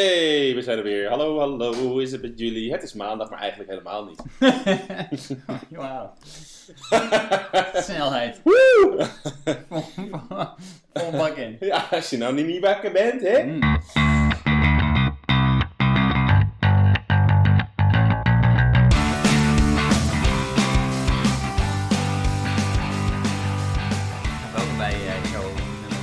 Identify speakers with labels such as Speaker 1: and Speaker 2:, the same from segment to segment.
Speaker 1: Yay, we zijn er weer. Hallo, hallo, hoe is het met jullie? Het is maandag, maar eigenlijk helemaal niet.
Speaker 2: Wauw. Snelheid.
Speaker 1: Woe!
Speaker 2: Vol vol bak in.
Speaker 1: ja, als je nou niet meer wakker bent, hè?
Speaker 2: Mm. Welkom bij eh, show nummer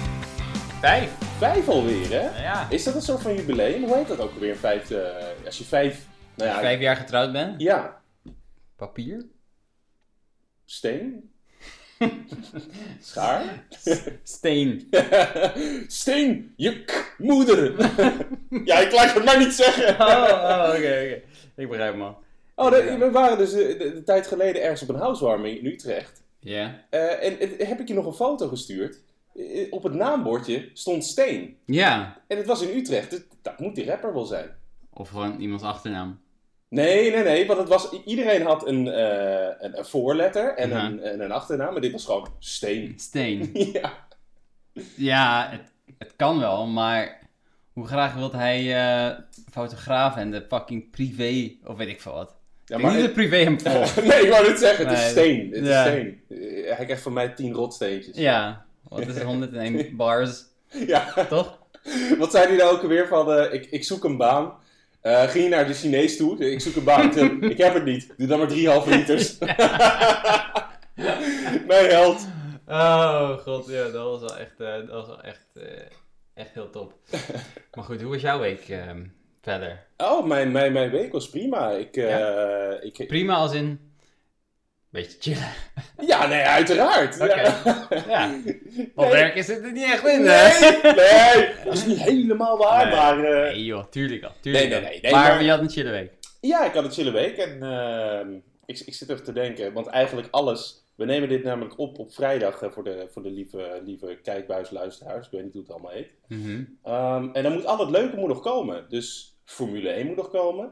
Speaker 2: 5.
Speaker 1: Vijf alweer, hè?
Speaker 2: Ja.
Speaker 1: Is dat een soort van jubileum? Hoe heet dat ook alweer? Vijf, eh, als je vijf... Nou ja,
Speaker 2: Vijf jaar getrouwd ben.
Speaker 1: ja,
Speaker 2: Papier.
Speaker 1: steen? Schaar?
Speaker 2: Steen.
Speaker 1: steen, je k- moeder! ja, ik laat het maar niet zeggen!
Speaker 2: Oh, oh, oké, oké. Ik begrijp hem al.
Speaker 1: Oh, nee, we waren dus eh, de- een tijd geleden ergens op een housewarming in Utrecht.
Speaker 2: Ja.
Speaker 1: Eh, en eh, heb ik je nog een foto gestuurd? Eh, Op het naambordje stond Steen.
Speaker 2: Ja.
Speaker 1: En het was in Utrecht, dus dat moet die rapper wel zijn.
Speaker 2: Of gewoon iemands achternaam.
Speaker 1: Nee, nee, nee, want het was, i- iedereen had een, eh, een, een voorletter en,
Speaker 2: Ja.
Speaker 1: een, en een achternaam, maar dit was gewoon Steen.
Speaker 2: Steen.
Speaker 1: ja.
Speaker 2: Ja, het, het kan wel, maar hoe graag wilt hij eh, fotograaf en de fucking privé, of weet ik veel wat.
Speaker 1: ja,
Speaker 2: Ik
Speaker 1: maar Oh.
Speaker 2: denk niet dat privé hem volgt.
Speaker 1: nee, ik wou het zeggen, het is
Speaker 2: Nee.
Speaker 1: Steen. Het
Speaker 2: Ja.
Speaker 1: is Steen. Eh, hij krijgt van mij tien rotsteentjes. Ja.
Speaker 2: ja, wat is er 101 bars, toch?
Speaker 1: Wat zei hij nou ook alweer van, eh, ik, ik zoek een baan. Eh, ging je naar de Chinees toe? Ik zoek een baan. Tim, ik heb het niet. Doe dan maar drie halve liters. Mijn held.
Speaker 3: Oh god, ja, dat was wel echt, eh, dat was wel echt, eh, echt heel top. maar goed, hoe was jouw week ehm, verder?
Speaker 1: Oh, mijn, mijn, mijn week was prima. Ik, eh, ik,
Speaker 3: Prima als in... Beetje chillen.
Speaker 1: ja, nee, uiteraard.
Speaker 3: Oké.
Speaker 1: Ja.
Speaker 3: Ja, wat
Speaker 1: Nee.
Speaker 3: werk is het er niet echt in, hè?
Speaker 1: Nee, nee, dat is niet helemaal waar,
Speaker 3: Nee.
Speaker 1: maar... eh,
Speaker 3: Nee joh, tuurlijk al. Tuurlijk
Speaker 1: Nee, nee,
Speaker 3: al.
Speaker 1: nee, nee,
Speaker 3: maar,
Speaker 1: maar-
Speaker 3: je had een chille week.
Speaker 1: Ja, ik had een chille week en ehm, ik, ik zit even te denken, want eigenlijk alles... We nemen dit namelijk op op vrijdag eh, voor de, voor de lieve, lieve kijkbuisluisteraars. Ik weet niet hoe het allemaal heet.
Speaker 2: Mhm.
Speaker 1: Ehm, en dan moet al het leuke moet nog komen. Dus Formule 1 moet nog komen.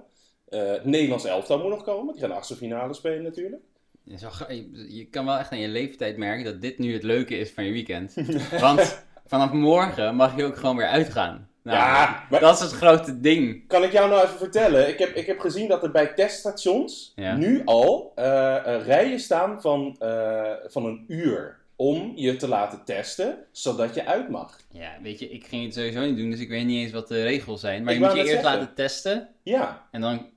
Speaker 1: Eh, het Nederlands elftal moet nog komen. Die gaan de achtste finale spelen natuurlijk.
Speaker 2: Dat is wel gra- je, je kan wel echt aan je leeftijd merken dat dit nu het leuke is van je weekend. Want vanaf morgen mag je ook gewoon weer uitgaan. Nou,
Speaker 1: Ja, maar-
Speaker 2: dat is het grote ding.
Speaker 1: Kan ik jou nou even vertellen? Ik heb, ik heb gezien dat er bij teststations
Speaker 2: Ja.
Speaker 1: nu al eh, eh, rijen staan van, eh, van een uur. Om je te laten testen, zodat je uit mag.
Speaker 2: Ja, weet je, ik ging het sowieso niet doen, dus ik weet niet eens wat de regels zijn. Maar
Speaker 1: Ik
Speaker 2: je moet
Speaker 1: wou net
Speaker 2: je eerst
Speaker 1: zeggen.
Speaker 2: laten testen
Speaker 1: Ja,
Speaker 2: en dan...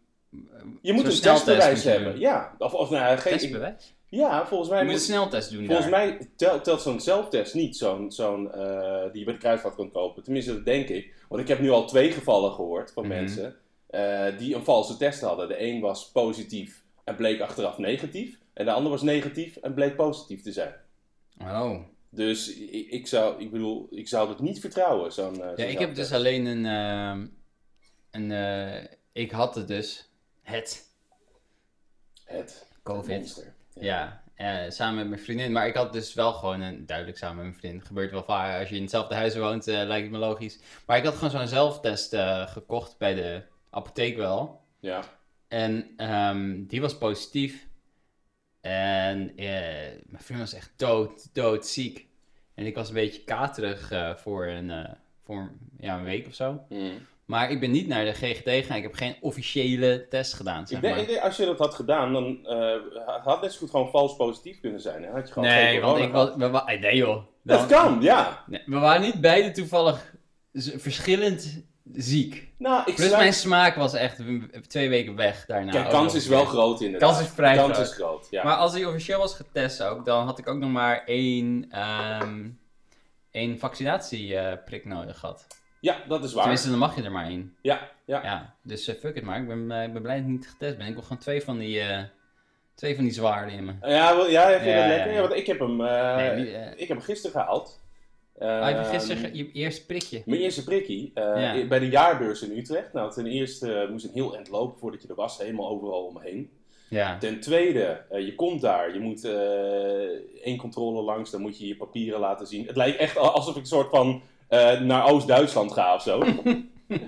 Speaker 1: je moet
Speaker 2: Zo'n
Speaker 1: een
Speaker 2: sneltest
Speaker 1: testbewijs
Speaker 2: moet je
Speaker 1: hebben.
Speaker 2: doen.
Speaker 1: Ja, of, of nou, geen, ik-
Speaker 2: Testbewijs?
Speaker 1: ja, volgens mij
Speaker 2: Je moet een
Speaker 1: moet-
Speaker 2: sneltest doen
Speaker 1: Volgens
Speaker 2: daar.
Speaker 1: mij telt, telt zo'n zelftest niet, zo'n, zo'n, eh, die je bij de kruidvat kan kopen. Tenminste, dat denk ik. Want ik heb nu al twee gevallen gehoord van
Speaker 2: Mhm.
Speaker 1: mensen eh, die een valse test hadden. De een was positief en bleek achteraf negatief. En de ander was negatief en bleek positief te zijn.
Speaker 2: Oh.
Speaker 1: Dus i- ik, zou, ik bedoel, ik zou dat niet vertrouwen, zo'n eh, zo'n
Speaker 2: Ja, ik heb dus
Speaker 1: zelftest.
Speaker 2: alleen een... ehm, een eh, ik had het dus. Het.
Speaker 1: Het
Speaker 2: COVID.
Speaker 1: monster.
Speaker 2: Ja. eh, samen met mijn vriendin. Maar ik had dus wel gewoon een... Duidelijk samen met mijn vriendin. Gebeurt wel vaak. Als je in hetzelfde huis woont, eh, lijkt het me logisch. Maar ik had gewoon zo'n zelftest eh, gekocht bij de apotheek wel.
Speaker 1: Ja.
Speaker 2: En ehm, die was positief. En eh, mijn vriend was echt dood, doodziek. En ik was een beetje katerig eh, voor, een, eh, voor ja, een week of zo.
Speaker 1: Mm.
Speaker 2: Maar ik ben niet naar de GGD gegaan. Ik heb geen officiële test gedaan, zeg
Speaker 1: Ik denk,
Speaker 2: maar.
Speaker 1: ik denk, als je dat had gedaan, dan eh, had net zo goed gewoon vals positief kunnen zijn. Dan had je gewoon geen
Speaker 2: nee, want
Speaker 1: corona
Speaker 2: ik
Speaker 1: gehad.
Speaker 2: was... We, wa- eh, nee, joh.
Speaker 1: Dat
Speaker 2: Dan-
Speaker 1: kan, ja.
Speaker 2: Nee, we waren niet beide toevallig z- verschillend ziek.
Speaker 1: Nou, ik
Speaker 2: Plus
Speaker 1: sluit-
Speaker 2: mijn smaak was echt w- twee weken weg daarna.
Speaker 1: Kijk,
Speaker 2: ook
Speaker 1: kans
Speaker 2: nog.
Speaker 1: is wel groot inderdaad.
Speaker 2: Kans is vrij
Speaker 1: Kans
Speaker 2: groot.
Speaker 1: is groot, ja.
Speaker 2: Maar als hij officieel was getest ook, dan had ik ook nog maar één, ehm één vaccinatieprik nodig gehad.
Speaker 1: ja, dat is waar.
Speaker 2: Tenminste, dan mag je er maar één.
Speaker 1: Ja, ja.
Speaker 2: Ja, dus eh, fuck it maar. Ik ben, eh, ik ben blij dat ik niet getest ben. Ik wil gewoon twee van die, eh, twee van die zwaarden in me.
Speaker 1: Ja, wel, ja, vind je
Speaker 2: Ja,
Speaker 1: dat
Speaker 2: ja,
Speaker 1: lekker?
Speaker 2: ja.
Speaker 1: Ja, want ik heb hem, eh,
Speaker 2: Nee, die, eh.
Speaker 1: ik heb hem gisteren gehaald. Eh,
Speaker 2: Ah, heb je gisteren ge- je eerste prikje?
Speaker 1: Mijn eerste prikkie eh,
Speaker 2: Ja.
Speaker 1: bij de jaarbeurs in Utrecht. Nou, ten eerste eh, moest een heel eind lopen voordat je er was, helemaal overal omheen.
Speaker 2: Ja.
Speaker 1: Ten tweede, eh, je komt daar, je moet eh, één controle langs, dan moet je je papieren laten zien. Het lijkt echt al- alsof ik een soort van eh, naar Oost-Duitsland ga of zo.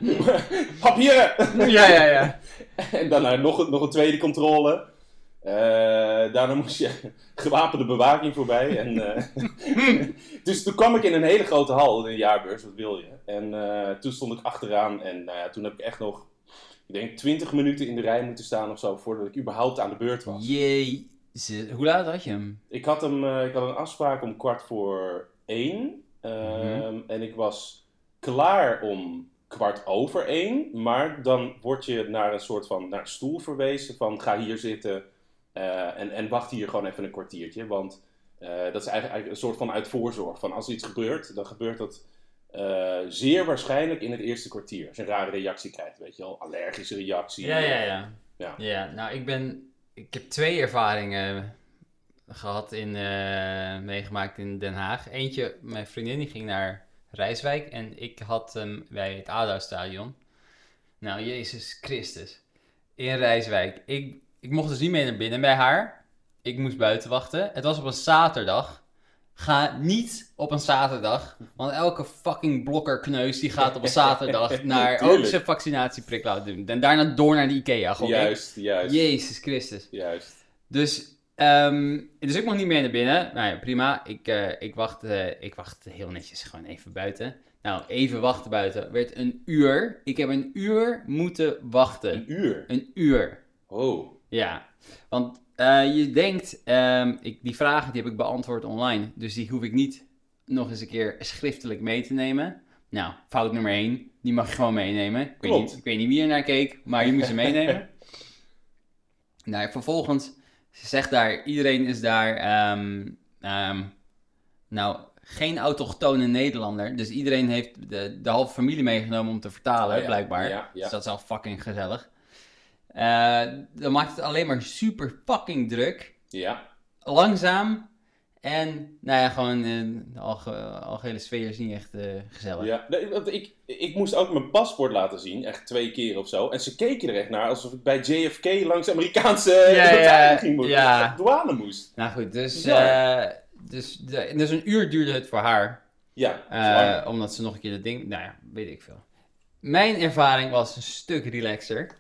Speaker 1: papieren!
Speaker 2: Ja, ja, ja.
Speaker 1: En daarna nog, een- nog een tweede controle. Eh, Eh, daarna moest je gewapende bewaking voorbij. En, eh, dus toen kwam ik in een hele grote hal in de jaarbeurs, wat wil je? En eh, toen stond ik achteraan en nou ja, toen heb ik echt nog, ik denk, 20 minuten in de rij moeten staan of zo voordat ik überhaupt aan de beurt was.
Speaker 4: Jezus. Hoe laat had je hem?
Speaker 1: Ik had, hem, eh, ik had een afspraak om kwart voor één. Ehm,
Speaker 2: Mhm.
Speaker 1: En ik was klaar om kwart over één. Maar dan word je naar een soort van naar een stoel verwezen. Van ga hier zitten eh, en, en wacht hier gewoon even een kwartiertje. Want eh, dat is eigenlijk, eigenlijk een soort van uit voorzorg. Van als iets gebeurt, dan gebeurt dat eh, zeer waarschijnlijk in het eerste kwartier. Als je een rare reactie krijgt, weet je wel. Allergische reactie.
Speaker 2: Ja, ja, ja.
Speaker 1: Ja.
Speaker 2: nou, ik ben... Ik heb twee ervaringen gehad in... eh, meegemaakt in Den Haag. Eentje, mijn vriendin die ging naar Rijswijk. En ik had hem bij het ADO-stadion. Nou, Jezus Christus. In Rijswijk. Ik, ik mocht dus niet mee naar binnen bij haar. Ik moest buiten wachten. Het was op een zaterdag. Ga niet op een zaterdag. Want elke fucking blokkerkneus die gaat op een zaterdag naar ook
Speaker 1: Tuurlijk.
Speaker 2: zijn vaccinatieprik laten doen. En daarna door naar de Ikea. Gewoon echt.
Speaker 1: Juist, juist,
Speaker 2: Jezus Christus.
Speaker 1: juist.
Speaker 2: Dus, ehm, dus ik mocht niet meer naar binnen. Nou ja, prima. Ik, eh, ik, wacht, eh, ik wacht heel netjes gewoon even buiten. Nou, even wachten buiten. Werd een uur. Ik heb een uur moeten wachten.
Speaker 1: Een uur.
Speaker 2: Een uur.
Speaker 1: Oh.
Speaker 2: Ja, want eh, je denkt, ehm, ik, die vragen die heb ik beantwoord online, dus die hoef ik niet nog eens een keer schriftelijk mee te nemen. Nou, fout nummer 1, die mag je gewoon meenemen. Ik weet,
Speaker 1: Klopt.
Speaker 2: niet, ik weet niet wie er naar keek, maar je moest ze meenemen. nou, vervolgens, ze zegt daar, iedereen is daar, ehm, ehm, nou, geen autochtone Nederlander. Dus iedereen heeft de, de halve familie meegenomen om te vertalen,
Speaker 1: Ah, ja.
Speaker 2: blijkbaar.
Speaker 1: Ja, ja.
Speaker 2: Dus dat is al fucking gezellig. Eh, dat maakt het alleen maar super fucking druk.
Speaker 1: Ja.
Speaker 2: Langzaam. En, nou ja, gewoon eh, de alge- algehele sfeer is niet echt eh, gezellig.
Speaker 1: Ja, nee, want ik, ik moest ook mijn paspoort laten zien, echt twee keer of zo. En ze keken er echt naar alsof ik bij JFK langs de Amerikaanse
Speaker 2: ja,
Speaker 1: beveiliging moest,
Speaker 2: ja.
Speaker 1: langs de douane moest.
Speaker 2: Nou goed, dus,
Speaker 1: Bizar.
Speaker 2: eh, dus, de- dus een uur duurde het voor haar.
Speaker 1: Ja,
Speaker 2: Eh,
Speaker 1: zwaar.
Speaker 2: omdat ze nog een keer dat ding. Nou ja, weet ik veel. Mijn ervaring was een stuk relaxer.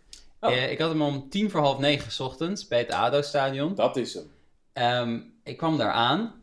Speaker 1: Oh.
Speaker 2: Eh, ik had hem om tien voor half negen 's ochtends bij het ADO-stadion.
Speaker 1: dat is hem.
Speaker 2: Ehm, ik kwam daar aan.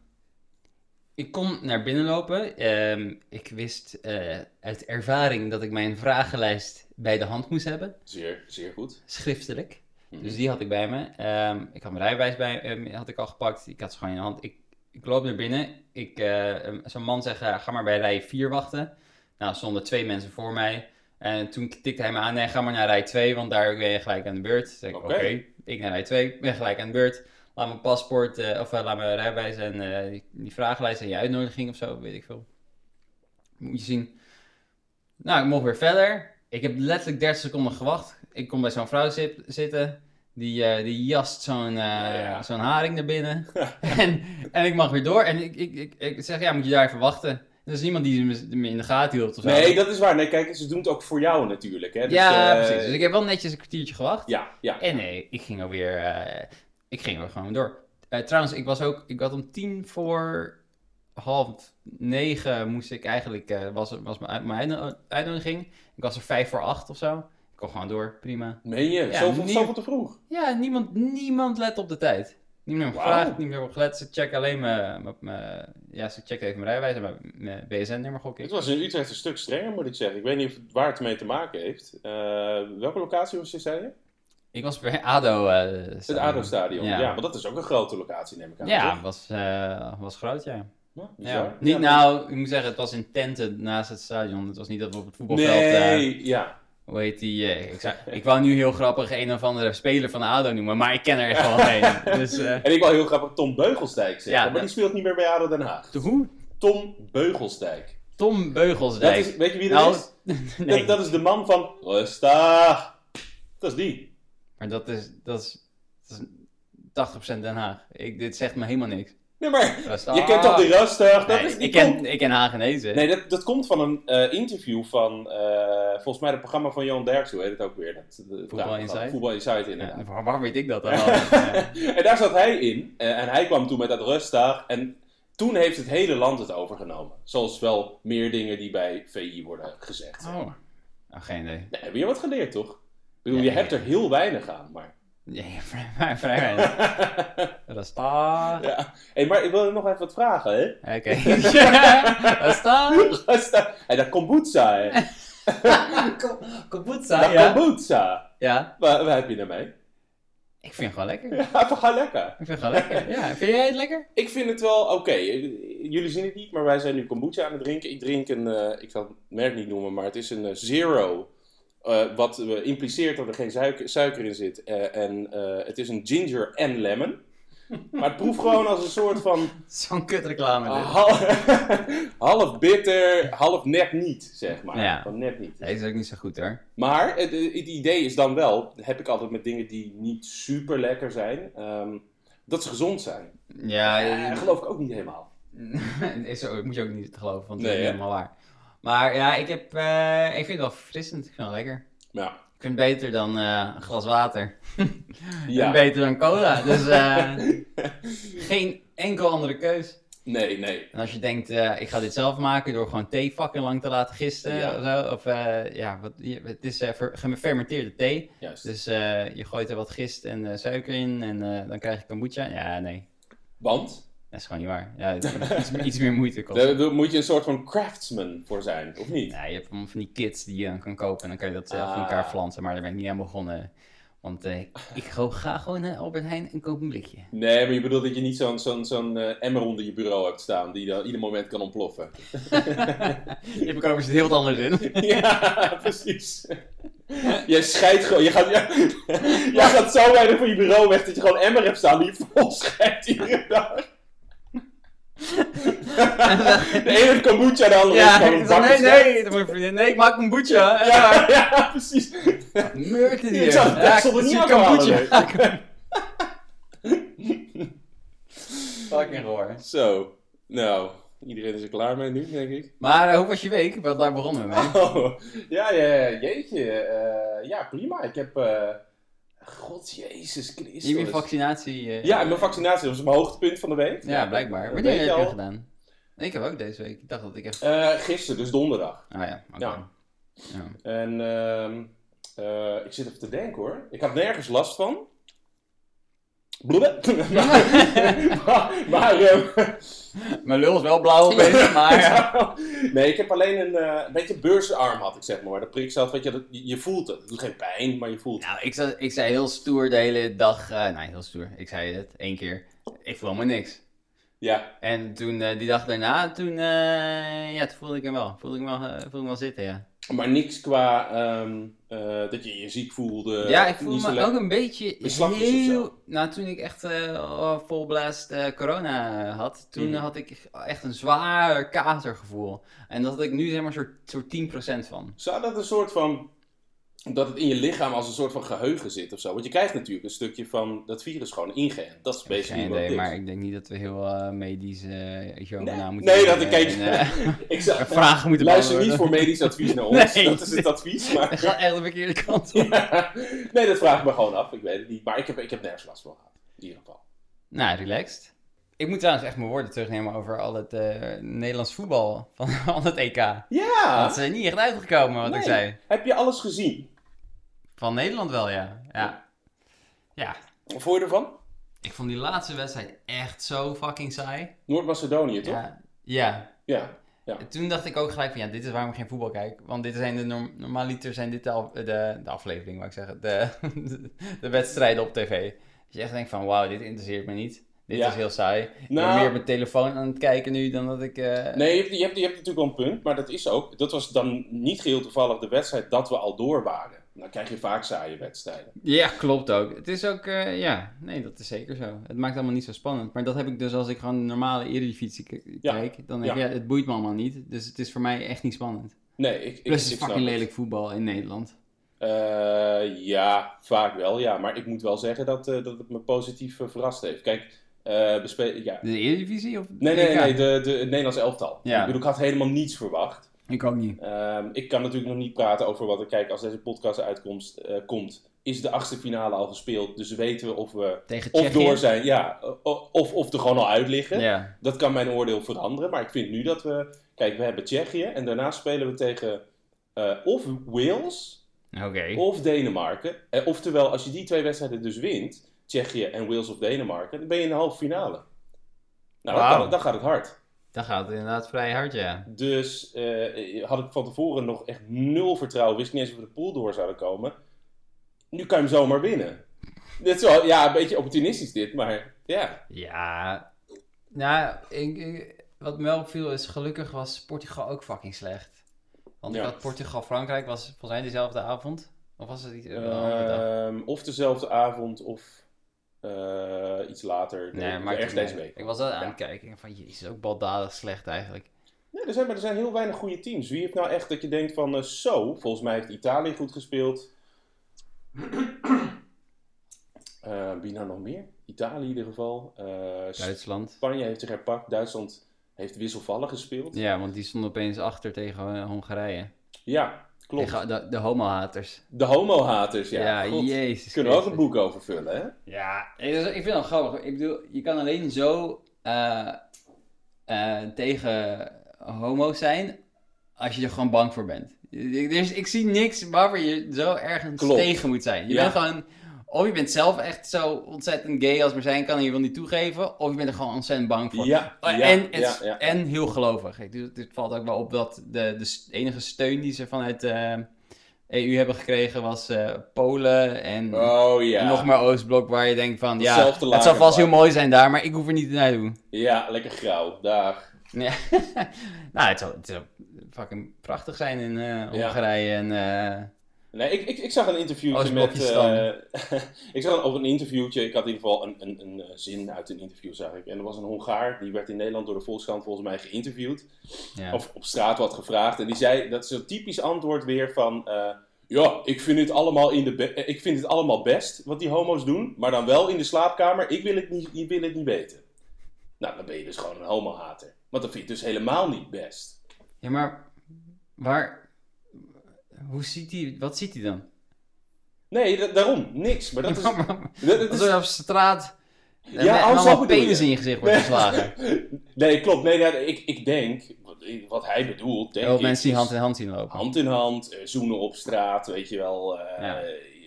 Speaker 2: Ik kon naar binnen lopen. Ehm, ik wist eh, uit ervaring dat ik mijn vragenlijst bij de hand moest hebben.
Speaker 1: Zeer, zeer goed.
Speaker 2: Schriftelijk.
Speaker 1: Mhm.
Speaker 2: Dus die had ik bij me. Ehm, ik had mijn rijbewijs bij ehm, had ik al gepakt. Ik had ze gewoon in de hand. Ik, ik loop naar binnen. Ik, eh, ehm, Zo'n man zegt, eh, ga maar bij rij 4 wachten. Nou, er stonden twee mensen voor mij. En toen tikte hij me aan, nee, ga maar naar rij 2, want daar ben je gelijk aan de beurt. Toen zei ik, oké,
Speaker 1: Oké.
Speaker 2: ik naar rij 2, ben gelijk aan de beurt. Laat mijn paspoort, eh, of eh, laat mijn rijbewijs en eh, die, die vragenlijst en je uitnodiging of zo, weet ik veel. Moet je zien. Nou, ik mocht weer verder. Ik heb letterlijk 30 seconden gewacht. Ik kom bij zo'n vrouw zit- zitten. Die, eh, die jast zo'n eh,
Speaker 1: ja.
Speaker 2: zo'n haring naar binnen. en, en ik mag weer door. En ik, ik, ik, ik zeg, ja, moet je daar even wachten. Er is niemand die me- me in de gaten hield of zo.
Speaker 1: Nee, dat is waar. Nee, kijk, ze doen het ook voor jou natuurlijk. Hè? Dus,
Speaker 2: ja,
Speaker 1: eh,
Speaker 2: precies. Dus ik heb wel netjes een kwartiertje gewacht.
Speaker 1: Ja, ja.
Speaker 2: En nee, ik ging alweer... eh, ik ging er gewoon door. Eh, trouwens, ik was ook... Ik had om tien voor half negen moest ik eigenlijk... eh, was, was mijn, uit- mijn uitno- uitnodiging. Ik was er vijf voor acht of zo. Ik kon gewoon door. Prima.
Speaker 1: Meen je?
Speaker 2: Ja,
Speaker 1: zoveel,
Speaker 2: nieuw-
Speaker 1: zoveel te vroeg.
Speaker 2: Ja, niemand, niemand let op de tijd. Niemand heeft
Speaker 1: Wauw.
Speaker 2: gevraagd, niemand heeft gelet. Ze checken alleen mijn... mijn- mijn- ja, ze checken even mijn rijwijs en mijn, mijn BSN-nummer, gok
Speaker 1: Het
Speaker 2: ik.
Speaker 1: was in Utrecht een stuk strenger, moet ik zeggen. Ik weet niet of het waar het mee te maken heeft. Eh, welke locatie was je, zei je?
Speaker 2: Ik was bij ADO. eh,
Speaker 1: Het
Speaker 2: stadion.
Speaker 1: ADO-stadion.
Speaker 2: Ja.
Speaker 1: Ja. want dat is ook een grote locatie, neem ik aan.
Speaker 2: Ja,
Speaker 1: toch?
Speaker 2: was, eh, was groot, ja.
Speaker 1: Ja, bizar.
Speaker 2: ja. Niet,
Speaker 1: Ja.
Speaker 2: nou, ik moet zeggen, het was in tenten naast het stadion. Het was niet dat we op het voetbalveld... eh,
Speaker 1: Nee, ja.
Speaker 2: hoe heet die? eh, ik, zou- ik wou nu heel grappig een of andere speler van ADO noemen, maar ik ken er echt wel geen. Dus, eh,
Speaker 1: En ik wil heel grappig Tom Beugelsdijk zeggen,
Speaker 2: Ja,
Speaker 1: maar
Speaker 2: dat-
Speaker 1: die speelt niet meer bij ADO Den Haag.
Speaker 2: hoe?
Speaker 1: Tom Beugelsdijk.
Speaker 2: Tom
Speaker 1: Dat
Speaker 2: Beugelsdijk.
Speaker 1: is, weet je wie dat
Speaker 2: Nou,
Speaker 1: is?
Speaker 2: nee.
Speaker 1: Dat, dat is de man van Resta. Dat is die.
Speaker 2: Maar dat is, dat is, dat is 80% Den Haag. Ik, dit zegt me helemaal niks.
Speaker 1: Nee, maar
Speaker 2: Rasta.
Speaker 1: je kent toch die Resta? Dat
Speaker 2: Ah. Nee,
Speaker 1: is die
Speaker 2: ik, ken,
Speaker 1: Tom.
Speaker 2: ik ken Hagenezen.
Speaker 1: Nee, dat, dat komt van een eh, interview van, eh, volgens mij, het programma van Johan Derksen, hoe heet het ook weer? Dat, de- nou,
Speaker 2: Inside?
Speaker 1: Voetbal Inside, inderdaad.
Speaker 2: Ja, waar, waar weet ik dat dan? Ja.
Speaker 1: En daar zat hij in. eh, en hij kwam toen met dat rustdag. En toen heeft het hele land het overgenomen. Zoals wel meer dingen die bij VI worden gezegd.
Speaker 2: oh. Oh, geen idee.
Speaker 1: Nee, heb je wat geleerd, toch? Ik bedoel,
Speaker 2: Ja,
Speaker 1: je
Speaker 2: ja,
Speaker 1: hebt
Speaker 2: ja.
Speaker 1: er heel weinig aan, maar...
Speaker 2: Nee, vrij, vrij, vrij Rasta.
Speaker 1: ja. Hey, maar ik wil nog even wat vragen, hè?
Speaker 2: Oké. Rasta.
Speaker 1: Rasta. Hey, dat kombucha, hè?
Speaker 2: Kom-
Speaker 1: Dat
Speaker 2: Kombucha, ja.
Speaker 1: kombucha.
Speaker 2: Ja,
Speaker 1: Waar, waar heb je nou mee?
Speaker 2: ik vind het gewoon lekker.
Speaker 1: Ja, we gaan lekker.
Speaker 2: Ik vind het gewoon lekker. Ja, vind jij het lekker?
Speaker 1: Ik vind het wel oké. Jullie zien het niet, maar wij zijn nu kombucha aan het drinken. Ik drink een, eh, ik zal het merk niet noemen, maar het is een eh, zero. eh, wat eh, impliceert dat er geen suiker, suiker in zit. Eh, en eh, het is een ginger en lemon. Maar het proeft gewoon als een soort van
Speaker 2: Zo'n kut reclame dit.
Speaker 1: half, half bitter, half net niet, zeg maar.
Speaker 2: Ja.
Speaker 1: Van net niet.
Speaker 2: Deze is ook niet zo goed hoor.
Speaker 1: Maar het, het idee is dan wel, heb ik altijd met dingen die niet super lekker zijn, ehm, dat ze gezond zijn.
Speaker 2: Ja,
Speaker 1: Eh,
Speaker 2: eh,
Speaker 1: geloof ik ook niet helemaal.
Speaker 2: is ook, moet je ook niet geloven, want dat
Speaker 1: Nee,
Speaker 2: is niet
Speaker 1: hè?
Speaker 2: helemaal waar. Maar ja, ik, heb, eh, ik vind het wel verfrissend. Ik vind het wel lekker.
Speaker 1: Ja.
Speaker 2: Ik vind het beter dan eh, een glas water.
Speaker 1: Ja.
Speaker 2: En beter dan cola. Dus eh, geen enkel andere keus.
Speaker 1: Nee, nee.
Speaker 2: En als je denkt, eh, ik ga dit zelf maken door gewoon thee fucking lang te laten gisten.
Speaker 1: Ja.
Speaker 2: Of, zo, of eh, ja, wat, je- het is eh, ver- gefermenteerde thee.
Speaker 1: Juist.
Speaker 2: Dus eh, je gooit er wat gist en eh, suiker in en eh, dan krijg je kombucha. Ja, nee.
Speaker 1: Want
Speaker 2: Dat is gewoon niet waar. Ja, het moet iets, iets meer moeite kost.
Speaker 1: daar daar moet je een soort van craftsman voor zijn, of niet?
Speaker 2: Oh. Ja, je hebt allemaal van die kits die je dan kan kopen en dan kan je dat zelf in
Speaker 1: Ah.
Speaker 2: elkaar flansen. Maar daar ben ik niet aan begonnen. Want eh, ik go- ga gewoon naar Albert Heijn en koop een blikje.
Speaker 1: Nee, maar je bedoelt dat je niet zo'n zo'n zo'n eh, emmer onder je bureau hebt staan die dan ieder moment kan ontploffen.
Speaker 2: je hebt ook overigens heel wat anders in.
Speaker 1: ja, precies. Jij scheidt gewoon, je gaat, jij, jij gaat zo weinig van je bureau weg dat je gewoon emmer hebt staan die je vol scheidt iedere dag. De ene kombucha, de andere is
Speaker 2: Ja,
Speaker 1: gewoon een
Speaker 2: ik zei,
Speaker 1: bakje
Speaker 2: nee,
Speaker 1: schei-
Speaker 2: nee, dat moet je- nee, ik maak een boetje.
Speaker 1: Ja, ja, precies.
Speaker 2: Meurt het hier.
Speaker 1: Ik zou de
Speaker 2: Ja, dus
Speaker 1: deksel er
Speaker 2: ik
Speaker 1: niet
Speaker 2: zie
Speaker 1: af
Speaker 2: kombucha.
Speaker 1: halen,
Speaker 2: Fucking hoor.
Speaker 1: Zo, nou, iedereen is er klaar mee nu, denk ik.
Speaker 2: Maar eh, hoe was je week? Want daar begonnen we mee.
Speaker 1: Oh, ja, ja, jeetje. eh, ja, prima. Ik heb... eh God, jezus Christus.
Speaker 2: Je hebt je vaccinatie... eh,
Speaker 1: Ja, en mijn vaccinatie was mijn hoogtepunt van de week.
Speaker 2: Ja, blijkbaar.
Speaker 1: dat
Speaker 2: Wanneer
Speaker 1: weet
Speaker 2: heb
Speaker 1: je
Speaker 2: je
Speaker 1: al.
Speaker 2: dat gedaan? Ik heb ook deze week. Ik dacht dat ik echt...
Speaker 1: Eh, gisteren, dus donderdag.
Speaker 2: Oh ja, oké.
Speaker 1: Ja.
Speaker 2: Ja.
Speaker 1: En ehm, eh, ik zit even te denken hoor. Ik had nergens last van. Blubbe. maar maar ehm,
Speaker 2: Mijn lul is wel blauw opeens, maar... Ah, ja.
Speaker 1: nee, ik heb alleen een, eh, een beetje beursarm had ik zeg maar. De prik zat, weet je, dat- je je voelt het. Het doet geen pijn, maar je voelt het.
Speaker 2: Nou, ik, zei- ik zei heel stoer de hele dag... eh nee, heel stoer. Ik zei het één keer. Ik voel me niks.
Speaker 1: Ja,
Speaker 2: En toen, eh, die dag daarna, toen, eh, ja, toen voelde ik hem wel. Voelde ik hem wel, eh, voelde ik hem wel zitten, ja.
Speaker 1: maar niks qua ehm, eh, dat je je ziek voelde.
Speaker 2: ja, ik
Speaker 1: Eh, niet
Speaker 2: voelde
Speaker 1: zo
Speaker 2: me
Speaker 1: lekker.
Speaker 2: ook een beetje
Speaker 1: Beslagjes of
Speaker 2: heel...
Speaker 1: zo.
Speaker 2: Nou, toen ik echt eh vol blast eh, corona had, toen
Speaker 1: Mhm.
Speaker 2: had ik echt een zwaar katergevoel. En dat had ik nu zeg maar soort, soort 10% van.
Speaker 1: Zou dat een soort van. dat het in je lichaam als een soort van geheugen zit of zo? Want je krijgt natuurlijk een stukje van dat virus gewoon ingeënt. Dat is basically
Speaker 2: Geen
Speaker 1: wat
Speaker 2: idee,
Speaker 1: het is.
Speaker 2: maar ik denk niet dat we heel eh, medisch eh iets over
Speaker 1: Nee,
Speaker 2: na moeten
Speaker 1: nee, dat
Speaker 2: denken
Speaker 1: ik kijk.
Speaker 2: en, eh,
Speaker 1: ik zou,
Speaker 2: vragen moeten
Speaker 1: luister niet
Speaker 2: beantwoorden.
Speaker 1: voor medisch advies naar ons.
Speaker 2: Nee.
Speaker 1: dat is het advies.
Speaker 2: Het
Speaker 1: Maar...
Speaker 2: gaat echt de verkeerde kant op.
Speaker 1: nee, dat vraag ik me gewoon af. Ik weet het niet. Maar ik heb, ik heb nergens last van gehad. In ieder geval.
Speaker 2: Nou, relaxed. Ik moet trouwens echt mijn woorden terugnemen over al het eh, Nederlands voetbal van al het EK.
Speaker 1: Ja!
Speaker 2: Dat is er niet echt uitgekomen, wat ik
Speaker 1: Ah. Nee.
Speaker 2: zei.
Speaker 1: Heb je alles gezien?
Speaker 2: Van Nederland wel, ja. ja. Ja.
Speaker 1: Wat vond je ervan?
Speaker 2: Ik vond die laatste wedstrijd echt zo fucking saai.
Speaker 1: Noord-Macedonië, toch? Ja.
Speaker 2: Ja. ja.
Speaker 1: ja.
Speaker 2: En Toen dacht ik ook gelijk van, ja, dit is waarom ik geen voetbal kijk. Want dit zijn de, norm- normaliter zijn dit de, af- de, de aflevering, wou ik zeggen. De, de, wedstrijden op tv. Dat je echt denkt van, wauw, dit interesseert me niet. Dit
Speaker 1: Ja.
Speaker 2: is heel saai. Ik ben
Speaker 1: Nou-
Speaker 2: meer op mijn telefoon aan het kijken nu dan dat ik... eh,
Speaker 1: Nee, je hebt, je, hebt, je hebt natuurlijk wel een punt, maar dat is ook. Dat was dan niet geheel toevallig de wedstrijd dat we al door waren. Dan krijg je vaak saaie wedstrijden.
Speaker 2: Ja, klopt ook. Het is ook, eh, ja, nee, dat is zeker zo. Het maakt allemaal niet zo spannend. Maar dat heb ik dus als ik gewoon een normale Eredivisie k- kijk. Dan denk ik,
Speaker 1: Ja.
Speaker 2: ja, het boeit me allemaal niet. Dus het is voor mij echt niet spannend.
Speaker 1: Nee, ik, ik,
Speaker 2: Plus het
Speaker 1: ik
Speaker 2: is
Speaker 1: snap
Speaker 2: fucking
Speaker 1: het.
Speaker 2: lelijk voetbal in Nederland.
Speaker 1: Eh, ja, vaak wel, ja. Maar ik moet wel zeggen dat, eh, dat het me positief eh, verrast heeft. Kijk, eh bespe- ja.
Speaker 2: De Eredivisie? Of
Speaker 1: Nee, nee,
Speaker 2: EK?
Speaker 1: nee, de, de, het Nederlands elftal.
Speaker 2: Ja.
Speaker 1: Ik bedoel, ik had helemaal niets verwacht.
Speaker 2: Ik ook niet.
Speaker 1: Ehm, ik kan natuurlijk nog niet praten over wat er... Kijk, als deze podcast uitkomst eh, komt, is de achtste finale al gespeeld. Dus weten we of we
Speaker 2: Tegen
Speaker 1: of
Speaker 2: Tsjechië.
Speaker 1: door zijn, ja. o- Of, of er gewoon al uit liggen.
Speaker 2: Ja.
Speaker 1: Dat kan mijn oordeel veranderen. Maar ik vind nu dat we... Kijk, we hebben Tsjechië en daarna spelen we tegen eh, of Wales
Speaker 4: Oké.
Speaker 1: of Denemarken. Eh, oftewel, als je die twee wedstrijden dus wint, Tsjechië en Wales of Denemarken, dan ben je in de halve finale. Nou, dan,
Speaker 4: Wauw.
Speaker 1: kan het- dan gaat het hard.
Speaker 2: Dan gaat het inderdaad vrij hard, ja.
Speaker 1: Dus eh, had ik van tevoren nog echt nul vertrouwen, wist niet eens of we de pool door zouden komen. Nu kan je hem zomaar winnen. Dit is wel, ja, een beetje opportunistisch dit, maar ja.
Speaker 2: Ja. Nou, ik, ik- wat me wel opviel is, gelukkig was Portugal ook fucking slecht. Want ik
Speaker 1: Ja.
Speaker 2: had Portugal-Frankrijk, was volgens mij dezelfde avond. Of was het iets een andere dag?
Speaker 1: Ehm, of dezelfde avond of eh, iets later.
Speaker 2: Nee,
Speaker 1: Nee,
Speaker 2: maar
Speaker 1: ergens
Speaker 2: toen-
Speaker 1: deze week.
Speaker 2: Ik was dat aan het kijken. en Van, jezus, ook baldadig slecht eigenlijk.
Speaker 1: Nee, er zijn, maar er zijn heel weinig goede teams. Wie heeft nou echt dat je denkt van, eh, zo, volgens mij heeft Italië goed gespeeld. Eh, wie nou nog meer? Italië in ieder geval. Eh,
Speaker 2: Duitsland.
Speaker 1: Spanje heeft zich herpakt. Duitsland heeft wisselvallig gespeeld.
Speaker 2: Ja, want die stonden opeens achter tegen eh, Hongarije.
Speaker 1: Ja, klopt.
Speaker 2: Tegen eh, de, de homohaters.
Speaker 1: De homohaters, ja.
Speaker 2: Ja,
Speaker 1: God,
Speaker 2: jezus.
Speaker 1: kunnen we ook een
Speaker 2: Christus.
Speaker 1: boek over vullen, hè?
Speaker 2: Ja, ik ik vind dat grappig. Ik bedoel, je kan alleen zo eh, eh, tegen homo's zijn als je er gewoon bang voor bent. Ik, er is- ik zie niks waarvoor je zo ergens
Speaker 1: Klopt.
Speaker 2: tegen moet zijn. Je
Speaker 1: Ja.
Speaker 2: bent gewoon, of je bent zelf echt zo ontzettend gay als maar zijn kan en je wil niet toegeven, of je bent er gewoon ontzettend bang voor.
Speaker 1: Ja,
Speaker 2: Oh,
Speaker 1: ja,
Speaker 2: en,
Speaker 1: ja,
Speaker 2: het-
Speaker 1: ja.
Speaker 2: en heel gelovig. Ik bedoel, het valt ook wel op dat de, de s- enige steun die ze vanuit de EU hebben gekregen was eh, Polen en
Speaker 1: Oh ja.
Speaker 2: en nog maar Oostblok waar je denkt van, ja,
Speaker 1: Hetzelfde
Speaker 2: het zal vast
Speaker 1: lagerpak.
Speaker 2: heel mooi zijn daar, maar ik hoef er niet naar te doen.
Speaker 1: Ja, lekker grauw. Dag.
Speaker 2: Ja. nou, het zal, het zal fucking prachtig zijn in eh,
Speaker 1: Ja.
Speaker 2: Hongarije en... eh,
Speaker 1: Nee, ik, ik, ik zag een interviewtje met...
Speaker 2: Oostblokjes
Speaker 1: eh, ik zag een, op een interviewtje, ik had in ieder geval een, een, een eh, zin uit een interview, zag ik. En er was een Hongaar, die werd in Nederland door de Volkskrant volgens mij geïnterviewd.
Speaker 2: ja.
Speaker 1: Of op straat wat gevraagd. En die zei, dat is een typisch antwoord weer van... eh, ja, ik vind, het allemaal in de be- eh, ik vind het allemaal best wat die homo's doen, maar dan wel in de slaapkamer. Ik wil het niet, ik wil het niet weten. Nou, dan ben je dus gewoon een homohater. Want dat vind je dus helemaal niet best.
Speaker 2: ja, maar waar... Hoe ziet hij... Wat ziet hij dan?
Speaker 1: Nee, da- daarom, niks. Maar dat is... dat- dat is
Speaker 2: Alsof je op straat...
Speaker 1: Ja,
Speaker 2: en
Speaker 1: oh, zo
Speaker 2: allemaal
Speaker 1: bedoel je.
Speaker 2: penis in je gezicht wordt
Speaker 1: Nee.
Speaker 2: geslagen.
Speaker 1: Nee, klopt. Nee, nee, ik, ik denk, wat- wat hij bedoelt, denk
Speaker 2: Heel veel
Speaker 1: ik,
Speaker 2: mensen die
Speaker 1: is
Speaker 2: hand in hand zien lopen.
Speaker 1: hand in hand, eh, zoenen op straat, weet je wel. eh,
Speaker 2: Ja.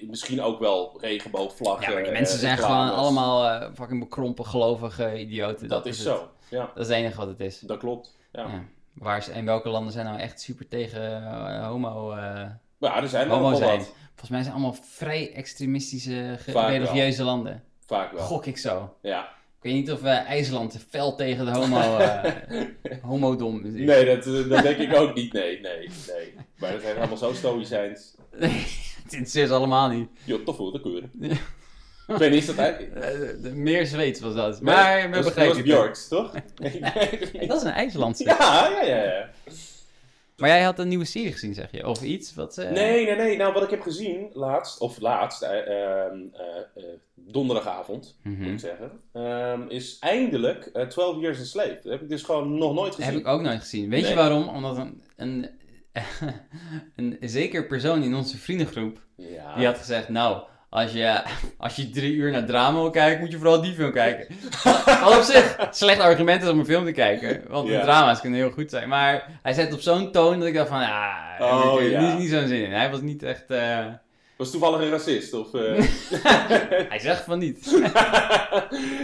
Speaker 1: Misschien ook wel regenboogvlaggen.
Speaker 2: Ja, maar die
Speaker 1: eh,
Speaker 2: mensen zijn
Speaker 1: reclames.
Speaker 2: gewoon allemaal eh, fucking bekrompen, gelovige idioten.
Speaker 1: Dat, is
Speaker 2: het.
Speaker 1: zo, ja.
Speaker 2: Dat is het enige wat het is.
Speaker 1: Dat klopt, ja.
Speaker 2: Ja. Waar is, en welke landen zijn nou echt super tegen eh, homo, eh,
Speaker 1: Maar ja, er zijn er
Speaker 2: homo
Speaker 1: wel
Speaker 2: zijn?
Speaker 1: wat.
Speaker 2: Volgens mij zijn allemaal vrij extremistische ge-
Speaker 1: Vaak wel.
Speaker 2: religieuze landen.
Speaker 1: Vaak wel,
Speaker 2: Gok ik zo.
Speaker 1: ja.
Speaker 2: Ik weet niet of eh, IJsland fel tegen de homo, eh, homodom is.
Speaker 1: Nee, dat, eh, dat denk ik ook niet. Nee, nee, nee. Maar dat zijn allemaal zo stoïcijns.
Speaker 2: het interesseert ze allemaal niet.
Speaker 1: Joh, toch voor de keuren. Ik weet niet, is dat eigenlijk...
Speaker 2: Eh, de- de- meer Zweeds was dat. Maar we
Speaker 1: dat was- Dat was
Speaker 2: begrijpen het.
Speaker 1: Björks, toch? Ik weet het
Speaker 2: Hey,
Speaker 1: niet.
Speaker 2: Dat is een IJslandse.
Speaker 1: Ja, ja, ja. ja.
Speaker 2: Maar jij had een nieuwe serie gezien, zeg je? Of iets? Wat, eh,
Speaker 1: Nee, nee, nee. Nou, wat ik heb gezien laatst, of laatst, eh, ehm, eh, eh, donderdagavond, moet
Speaker 2: Mhm.
Speaker 1: ik zeggen, ehm, is eindelijk eh, 12 Years a Slave. Dat heb ik dus gewoon nog nooit gezien.
Speaker 2: Heb ik ook nooit gezien. Weet
Speaker 1: Nee.
Speaker 2: je waarom? Omdat een, een, een zeker persoon in onze vriendengroep
Speaker 1: Ja.
Speaker 2: Die had gezegd, nou, als je, als je drie uur naar drama wil kijken, moet je vooral die film kijken. Wat op zich slecht argument is om een film te kijken, want
Speaker 1: Ja.
Speaker 2: de drama's kunnen heel goed zijn. Maar hij zet het op zo'n toon dat ik dacht van, ah, daar heb
Speaker 1: Oh,
Speaker 2: ik, eh,
Speaker 1: ja.
Speaker 2: niet, niet zo'n zin in. Hij was niet echt, eh,
Speaker 1: Was toevallig een racist, of... eh,
Speaker 2: hij zegt van niet.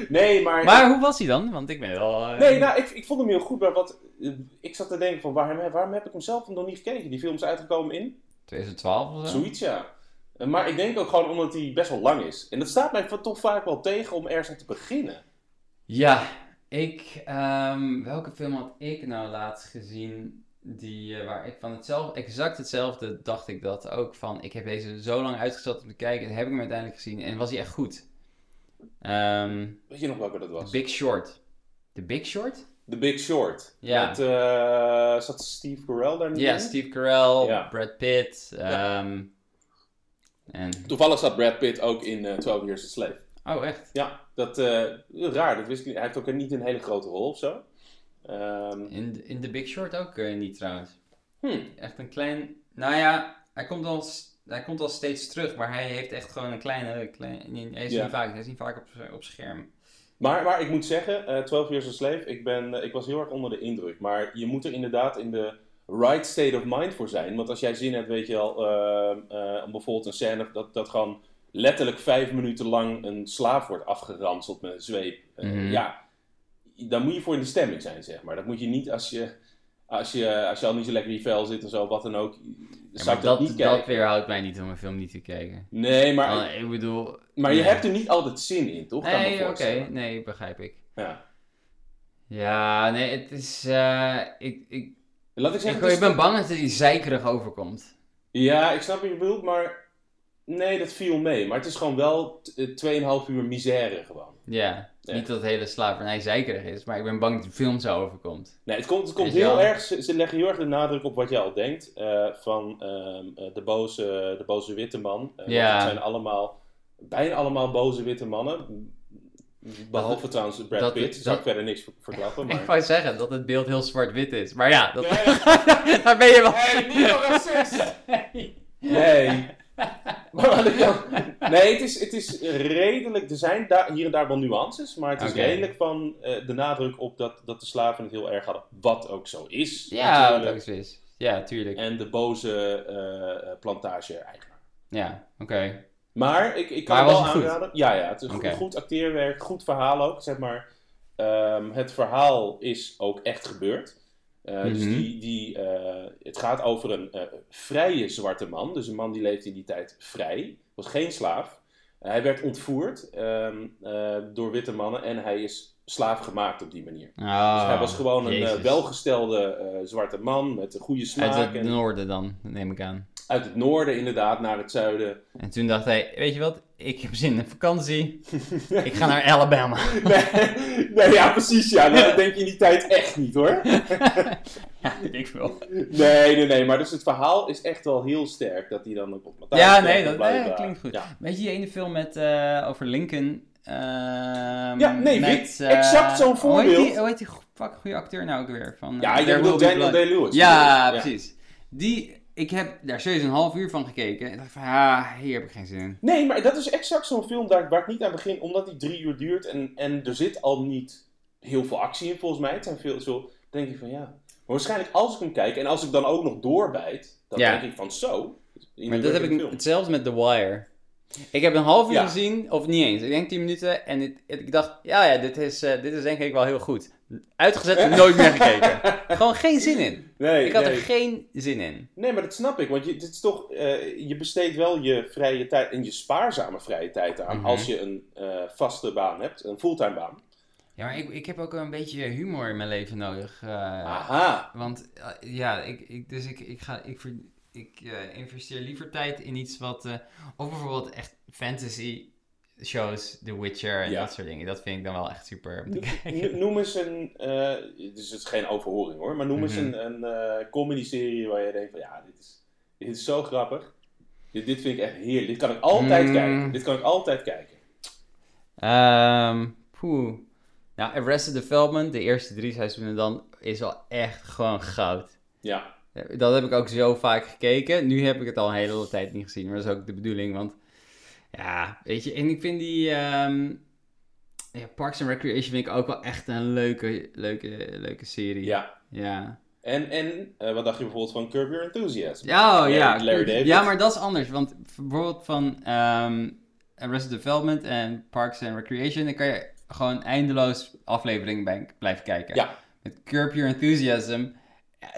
Speaker 1: nee, maar...
Speaker 2: Maar hoe was hij dan? Want ik ben wel... eh,
Speaker 1: Nee, nou, ik, ik vond hem heel goed, maar wat... eh, Ik zat te denken van, waarom, waarom heb ik hem zelf nog niet gekeken? Die film is uitgekomen in...
Speaker 2: 2012 of zo?
Speaker 1: Zoiets, ja. Eh, Maar ik denk ook gewoon omdat hij best wel lang is. En dat staat mij toch vaak wel tegen om ergens aan te beginnen.
Speaker 2: Ja, ik. ehm, welke film had ik nou laatst gezien? Die, eh, waar ik van hetzelfde, exact hetzelfde dacht ik dat ook van. Ik heb deze zo lang uitgesteld om te kijken. En heb ik hem uiteindelijk gezien. En was hij echt goed? Ehm,
Speaker 1: Weet je nog welke dat was?
Speaker 2: The Big Short. The Big Short?
Speaker 1: The Big Short.
Speaker 2: Ja.
Speaker 1: Met, eh, zat Steve Carell daar niet
Speaker 2: Ja,
Speaker 1: in?
Speaker 2: Steve Carell,
Speaker 1: Ja.
Speaker 2: Brad Pitt. ehm, en...
Speaker 1: Toevallig zat Brad Pitt ook in eh 12 Years a Slave.
Speaker 2: Oh, echt?
Speaker 1: Ja, dat eh, raar. Dat wist ik niet. Hij heeft ook niet een hele grote rol of zo. Ehm,
Speaker 2: In, in The Big Short ook eh, niet trouwens.
Speaker 1: hmm.
Speaker 2: Echt een klein. Nou ja, hij komt al, s- hij komt al steeds terug, maar hij heeft echt gewoon een kleine. klein, hij, is
Speaker 1: Ja. Dus
Speaker 2: niet vaak, hij is niet vaak op, op scherm.
Speaker 1: maar, maar ik moet zeggen, eh 12 Years a Slave, ik, ben, eh, ik was heel erg onder de indruk. Maar je moet er inderdaad in de right state of mind voor zijn. Want als jij zin hebt, weet je wel, eh, eh, om bijvoorbeeld een scène dat, dat gewoon letterlijk vijf minuten lang een slaaf wordt afgeranseld met een zweep. Eh,
Speaker 2: Mhm.
Speaker 1: Ja, dan moet je voor in de stemming zijn, zeg maar. Dat moet je niet als je, als je, als je al niet zo lekker in je vel zit en zo, wat dan ook.
Speaker 2: Ja,
Speaker 1: zou
Speaker 2: maar
Speaker 1: ik dat,
Speaker 2: dat,
Speaker 1: niet
Speaker 2: dat,
Speaker 1: kijken.
Speaker 2: weerhoudt mij niet om een film niet te kijken.
Speaker 1: Nee, maar,
Speaker 2: Want ik bedoel...
Speaker 1: maar je
Speaker 2: nee.
Speaker 1: hebt er niet altijd zin in, toch? Kan ik me
Speaker 2: Nee, oké.
Speaker 1: voorstellen.
Speaker 2: Nee, begrijp ik.
Speaker 1: Ja.
Speaker 2: Ja, nee, het is... eh, ik, ik,
Speaker 1: Laat ik
Speaker 2: ik,
Speaker 1: zeggen,
Speaker 2: ik
Speaker 1: Dus het is-
Speaker 2: ben bang dat hij zeikerig overkomt.
Speaker 1: Ja, ik snap wat je bedoelt, maar nee, dat viel mee. Maar het is gewoon wel t- eh, 2,5 uur misère gewoon.
Speaker 2: Ja,
Speaker 1: Ja.
Speaker 2: niet dat de hele slavernij zeikerig is, maar ik ben bang dat de film zo overkomt.
Speaker 1: Nee, het komt, het komt
Speaker 2: Weet je
Speaker 1: heel
Speaker 2: wel?
Speaker 1: erg, ze, ze leggen heel erg de nadruk op wat jij al denkt, eh, van ehm, eh, de, boze, de boze witte man. Eh,
Speaker 2: Ja.
Speaker 1: want het zijn allemaal, bijna allemaal boze witte mannen. Behalve trouwens Brad
Speaker 2: dat-
Speaker 1: Pitt,
Speaker 2: dat-
Speaker 1: zou ik verder niks ver- verklappen,
Speaker 2: Ik
Speaker 1: maar...
Speaker 2: wou zeggen dat het beeld heel zwart-wit is, maar ja, dat...
Speaker 1: Nee, nee,
Speaker 2: daar ben je wel...
Speaker 1: nee, niet nog racist! Nee. Maar wat ik dan... Nee, het is, het is redelijk. Er zijn daar hier en daar wel nuances, maar het is
Speaker 2: Oké.
Speaker 1: redelijk van eh, de nadruk op dat, dat de slaven het heel erg hadden. Wat ook zo is.
Speaker 2: ja,
Speaker 1: natuurlijk.
Speaker 2: dat is wist. Ja, tuurlijk.
Speaker 1: En de boze eh, plantage-eigenaar.
Speaker 2: Ja, oké.
Speaker 1: Maar ik, ik kan
Speaker 2: Maar
Speaker 1: het wel
Speaker 2: was het goed?
Speaker 1: aanraden. Ja, ja, het is
Speaker 2: Oké.
Speaker 1: goed, goed acteerwerk, goed verhaal ook. Zeg maar, Ehm, het verhaal is ook echt gebeurd. Eh, Dus
Speaker 2: Mhm.
Speaker 1: die, die, eh, het gaat over een eh, vrije zwarte man. Dus een man die leefde in die tijd vrij. Was geen slaaf. Eh, Hij werd ontvoerd ehm, eh, door witte mannen en hij is slaaf gemaakt op die manier.
Speaker 2: Oh,
Speaker 1: dus hij was gewoon een eh,
Speaker 2: Jezus.
Speaker 1: welgestelde eh, zwarte man met een goede smaak.
Speaker 2: Uit het
Speaker 1: en
Speaker 2: noorden dan, neem ik aan.
Speaker 1: uit het noorden inderdaad naar het zuiden.
Speaker 2: En toen dacht hij, weet je wat, ik heb zin in een vakantie. ik ga naar Alabama.
Speaker 1: Nee, nee, ja, precies. Ja. Nou, dat denk je in die tijd echt niet hoor.
Speaker 2: ja, ik wil.
Speaker 1: Nee, nee, nee. Maar dus het verhaal is echt wel heel sterk. Dat die dan ook op Latijn
Speaker 2: Ja,
Speaker 1: komt
Speaker 2: nee,
Speaker 1: en
Speaker 2: dat-
Speaker 1: bla, bla,
Speaker 2: nee, dat
Speaker 1: bla.
Speaker 2: klinkt goed.
Speaker 1: Ja,
Speaker 2: Weet je die ene film met, eh, over Lincoln? Ehm,
Speaker 1: Ja, nee,
Speaker 2: met,
Speaker 1: wie-
Speaker 2: eh,
Speaker 1: exact zo'n
Speaker 2: Hoe heet
Speaker 1: voorbeeld.
Speaker 2: die, hoe heet die go- fuck, goede acteur nou ook weer? Van, eh,
Speaker 1: ja je
Speaker 2: There
Speaker 1: bedoelt
Speaker 2: Will Be
Speaker 1: Daniel
Speaker 2: Blood.
Speaker 1: Day-Lewis.
Speaker 2: Ja, precies. Die, ik heb daar serieus een half uur van gekeken. En dacht van, ah, hier heb ik geen zin in.
Speaker 1: Nee, maar dat is exact zo'n film daar, waar ik niet aan begin. Omdat die drie uur duurt en, en er zit al niet heel veel actie in volgens mij. Het zijn veel zo... denk ik van ja... Maar waarschijnlijk als ik hem kijk en als ik dan ook nog doorbijt... Dan
Speaker 2: Ja.
Speaker 1: denk ik van zo...
Speaker 2: Maar dat heb ik
Speaker 1: film.
Speaker 2: hetzelfde met The Wire. Ik heb een half uur
Speaker 1: Ja.
Speaker 2: gezien, of niet eens. Ik denk 10 minuten en het- het- ik dacht, ja, ja dit, is, eh, dit is denk ik wel heel goed. Uitgezet en nooit meer gekeken. Gewoon geen zin in.
Speaker 1: Nee,
Speaker 2: Ik had
Speaker 1: nee.
Speaker 2: er geen zin in.
Speaker 1: Nee, maar dat snap ik. Want je, dit is toch, eh, je besteedt wel je vrije tijd en je spaarzame vrije tijd aan
Speaker 2: Mhm.
Speaker 1: als je een eh, vaste baan hebt, een fulltime baan.
Speaker 2: Ja, maar ik, ik heb ook een beetje humor in mijn leven nodig. eh,
Speaker 1: Ah. Aha.
Speaker 2: Want eh, ja, ik, ik, dus ik, ik, ga, ik, ver- ik eh, investeer liever tijd in iets wat. eh, of bijvoorbeeld echt fantasy shows, The Witcher en
Speaker 1: Ja.
Speaker 2: dat soort dingen. Dat vind ik dan wel echt super. om te
Speaker 1: No-
Speaker 2: kijken.
Speaker 1: no- Noem eens een, eh, dus het is geen overhoring hoor, maar noem eens
Speaker 2: Mhm.
Speaker 1: een, een eh comedy-serie waar je denkt van ja, dit is, dit is zo grappig. Dit, dit vind ik echt heerlijk. Dit kan ik altijd
Speaker 2: Mm.
Speaker 1: kijken. Dit kan ik altijd kijken.
Speaker 2: Ehm, poeh. Nou, Arrested Development, de eerste drie seizoenen dan, is wel echt gewoon goud.
Speaker 1: Ja.
Speaker 2: Eh, Dat heb ik ook zo vaak gekeken. Nu heb ik het al een hele tijd niet gezien, maar dat is ook de bedoeling, want... Ja, weet je, en ik vind die... ehm, ja, Parks and Recreation vind ik ook wel echt een leuke, leuke, leuke serie.
Speaker 1: ja.
Speaker 2: Ja.
Speaker 1: En, en eh, wat dacht je bijvoorbeeld van Curb Your Enthusiasm?
Speaker 2: Ja, oh,
Speaker 1: Larry-
Speaker 2: ja.
Speaker 1: Larry
Speaker 2: goed.
Speaker 1: David.
Speaker 2: Ja, maar dat is anders. Want bijvoorbeeld van ehm, Arrested Development en Parks and Recreation, dan kan je gewoon eindeloos afleveringen bij blijven kijken.
Speaker 1: Ja.
Speaker 2: Met Curb Your Enthusiasm.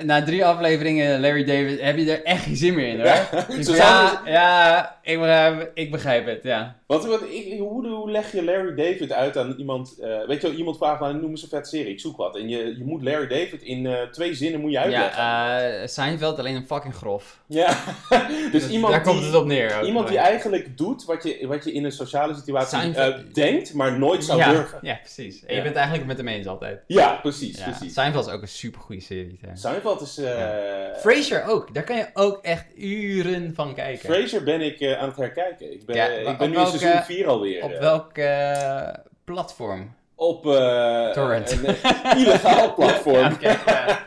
Speaker 2: Na drie afleveringen Larry David heb je er echt geen zin meer in, hoor.
Speaker 1: Ja,
Speaker 2: Ja,
Speaker 1: zo
Speaker 2: ja,
Speaker 1: zou-
Speaker 2: ik, begrijp, ik begrijp het, ja.
Speaker 1: Wat, wat, ik, hoe, hoe leg je Larry David uit aan iemand? eh, weet je wel, iemand vraagt van noem eens een vet serie, ik zoek wat. En je, je moet Larry David in eh, twee zinnen moet je
Speaker 2: Ja,
Speaker 1: uitleggen. Ja,
Speaker 2: eh, Seinfeld alleen een fucking grof.
Speaker 1: dus iemand,
Speaker 2: Daar
Speaker 1: die,
Speaker 2: komt het op neer. ook.
Speaker 1: iemand die eigenlijk doet wat je, wat je in een sociale situatie
Speaker 2: Seinfeld-
Speaker 1: eh, denkt, maar nooit zou
Speaker 2: ja,
Speaker 1: durven.
Speaker 2: ja, precies. En je
Speaker 1: Ja.
Speaker 2: bent eigenlijk met hem eens altijd.
Speaker 1: Ja, precies,
Speaker 2: Ja.
Speaker 1: precies.
Speaker 2: Seinfeld is ook een supergoeie serie. hè.
Speaker 1: Seinfeld is... eh,
Speaker 2: Frasier ook. Daar kan je ook echt uren van kijken.
Speaker 1: Frasier ben ik eh, aan het herkijken. Ik ben,
Speaker 2: Ja,
Speaker 1: eh,
Speaker 2: maar
Speaker 1: ik ben
Speaker 2: op
Speaker 1: nu in
Speaker 2: welke-
Speaker 1: seizoen 4 alweer.
Speaker 2: Op
Speaker 1: eh,
Speaker 2: welk eh, platform?
Speaker 1: op eh,
Speaker 2: Torrent.
Speaker 1: een eh, illegaal platform.
Speaker 2: Oké, ja.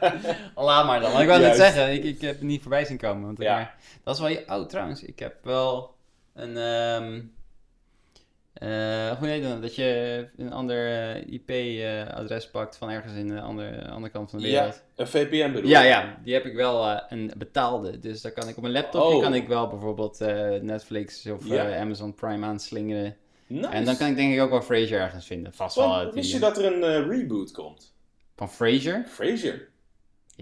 Speaker 2: Laat maar dan. Want Ik wou
Speaker 1: Juist.
Speaker 2: net zeggen, ik, ik heb het niet voorbij zien komen. Want
Speaker 1: Ja.
Speaker 2: maar- dat is wel... je- Oh, trouwens, ik heb wel een... ehm, Eh, hoe heet dat? Dat je een ander eh, IP-adres pakt van ergens in de andere, andere kant van de
Speaker 1: Ja,
Speaker 2: wereld.
Speaker 1: een VPN bedoel
Speaker 2: Ja,
Speaker 1: je?
Speaker 2: ja, die heb ik wel eh, een betaalde. Dus daar kan ik op mijn laptopje
Speaker 1: Oh.
Speaker 2: kan ik wel bijvoorbeeld eh, Netflix of eh,
Speaker 1: Ja.
Speaker 2: Amazon Prime aanslingeren.
Speaker 1: Nice.
Speaker 2: En dan kan ik denk ik ook wel Frasier ergens vinden. Vast wel.
Speaker 1: Want
Speaker 2: uit die-
Speaker 1: wist je dat er een eh, reboot komt?
Speaker 2: Van Frasier?
Speaker 1: Frasier.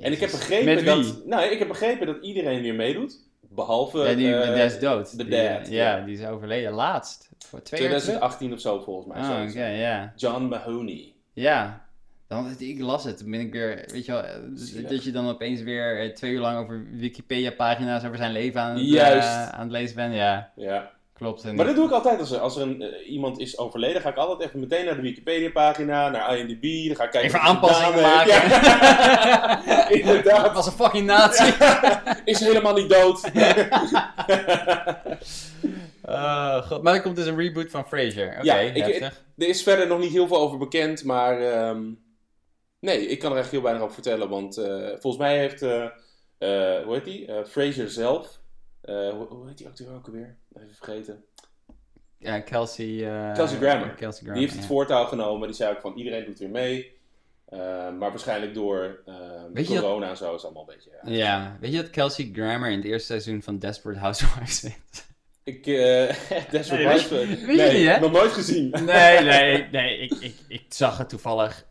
Speaker 1: En ik heb
Speaker 2: Jezus.
Speaker 1: begrepen
Speaker 2: Met wie?
Speaker 1: dat... Nou, ik heb begrepen dat iedereen weer meedoet. Behalve...
Speaker 2: Ja, die
Speaker 1: eh,
Speaker 2: die is dood.
Speaker 1: de
Speaker 2: Die,
Speaker 1: dad,
Speaker 2: ja,
Speaker 1: ja.
Speaker 2: die is overleden laatst. Voor twee jaar terug.
Speaker 1: 2018 of zo volgens mij.
Speaker 2: Oh, oké,
Speaker 1: zoiets.
Speaker 2: ja.
Speaker 1: John Mahoney.
Speaker 2: Ja. Dan, ik las het, toen ben ik weer, weet je wel, eh,
Speaker 1: Zielig.
Speaker 2: dat je dan opeens weer eh, twee uur lang over Wikipedia-pagina's over zijn leven aan, het,
Speaker 1: Juist.
Speaker 2: eh, aan het lezen bent. Ja,
Speaker 1: Ja.
Speaker 2: klopt. En
Speaker 1: Maar dat doe ik altijd. Als er, als er een, eh, iemand is overleden, ga ik altijd even meteen naar de Wikipedia-pagina, naar IMDb. Dan ga ik kijken
Speaker 2: Even
Speaker 1: wat hij
Speaker 2: aanpassingen
Speaker 1: gedaan heeft. Ja.
Speaker 2: dat
Speaker 1: Inderdaad.
Speaker 2: was een fucking nazi.
Speaker 1: Is helemaal niet dood.
Speaker 2: Eh, god. Maar er komt dus een reboot van Frasier. Oké,
Speaker 1: Ja, ik-
Speaker 2: heftig.
Speaker 1: er is verder nog niet heel veel over bekend, maar... ehm, nee, ik kan er echt heel weinig over vertellen. Want eh, volgens mij heeft... eh, eh, hoe heet die? Eh Fraser zelf. eh, hoe, hoe heet die acteur ook alweer? Even vergeten.
Speaker 2: Ja, Kelsey... eh,
Speaker 1: Kelsey Grammer.
Speaker 2: Kelsey Grammer,
Speaker 1: Die heeft het
Speaker 2: ja.
Speaker 1: voortouw genomen. Die zei ook van iedereen doet weer mee. Eh, maar waarschijnlijk door eh,
Speaker 2: Weet je dat-
Speaker 1: corona en zo is het allemaal een beetje. ja.
Speaker 2: Ja, weet je dat Kelsey Grammer in het eerste seizoen van Desperate Housewives zit?
Speaker 1: Ik, eh Desperate
Speaker 2: Nee, weet je-
Speaker 1: Housewives.
Speaker 2: weet je
Speaker 1: Nee,
Speaker 2: niet, hè?
Speaker 1: Nog nooit gezien.
Speaker 2: Nee, nee, nee. Ik, ik, ik zag het toevallig.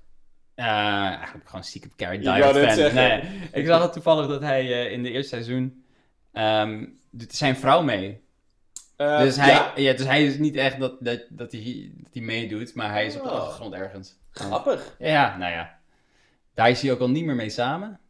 Speaker 2: eh, eigenlijk gewoon stiekem Carrie
Speaker 1: Ik
Speaker 2: Diet
Speaker 1: wou net
Speaker 2: fan.
Speaker 1: zeggen.
Speaker 2: Nee, ik zag het toevallig dat hij eh, in de eerste seizoen ehm, doet zijn vrouw mee.
Speaker 1: Eh,
Speaker 2: dus, hij, ja?
Speaker 1: ja,
Speaker 2: dus hij is niet echt dat, dat, dat, hij, dat hij meedoet, maar hij is op de
Speaker 1: Oh.
Speaker 2: achtergrond ergens.
Speaker 1: grappig.
Speaker 2: Ja, nou ja. Daar is hij ook al niet meer mee samen.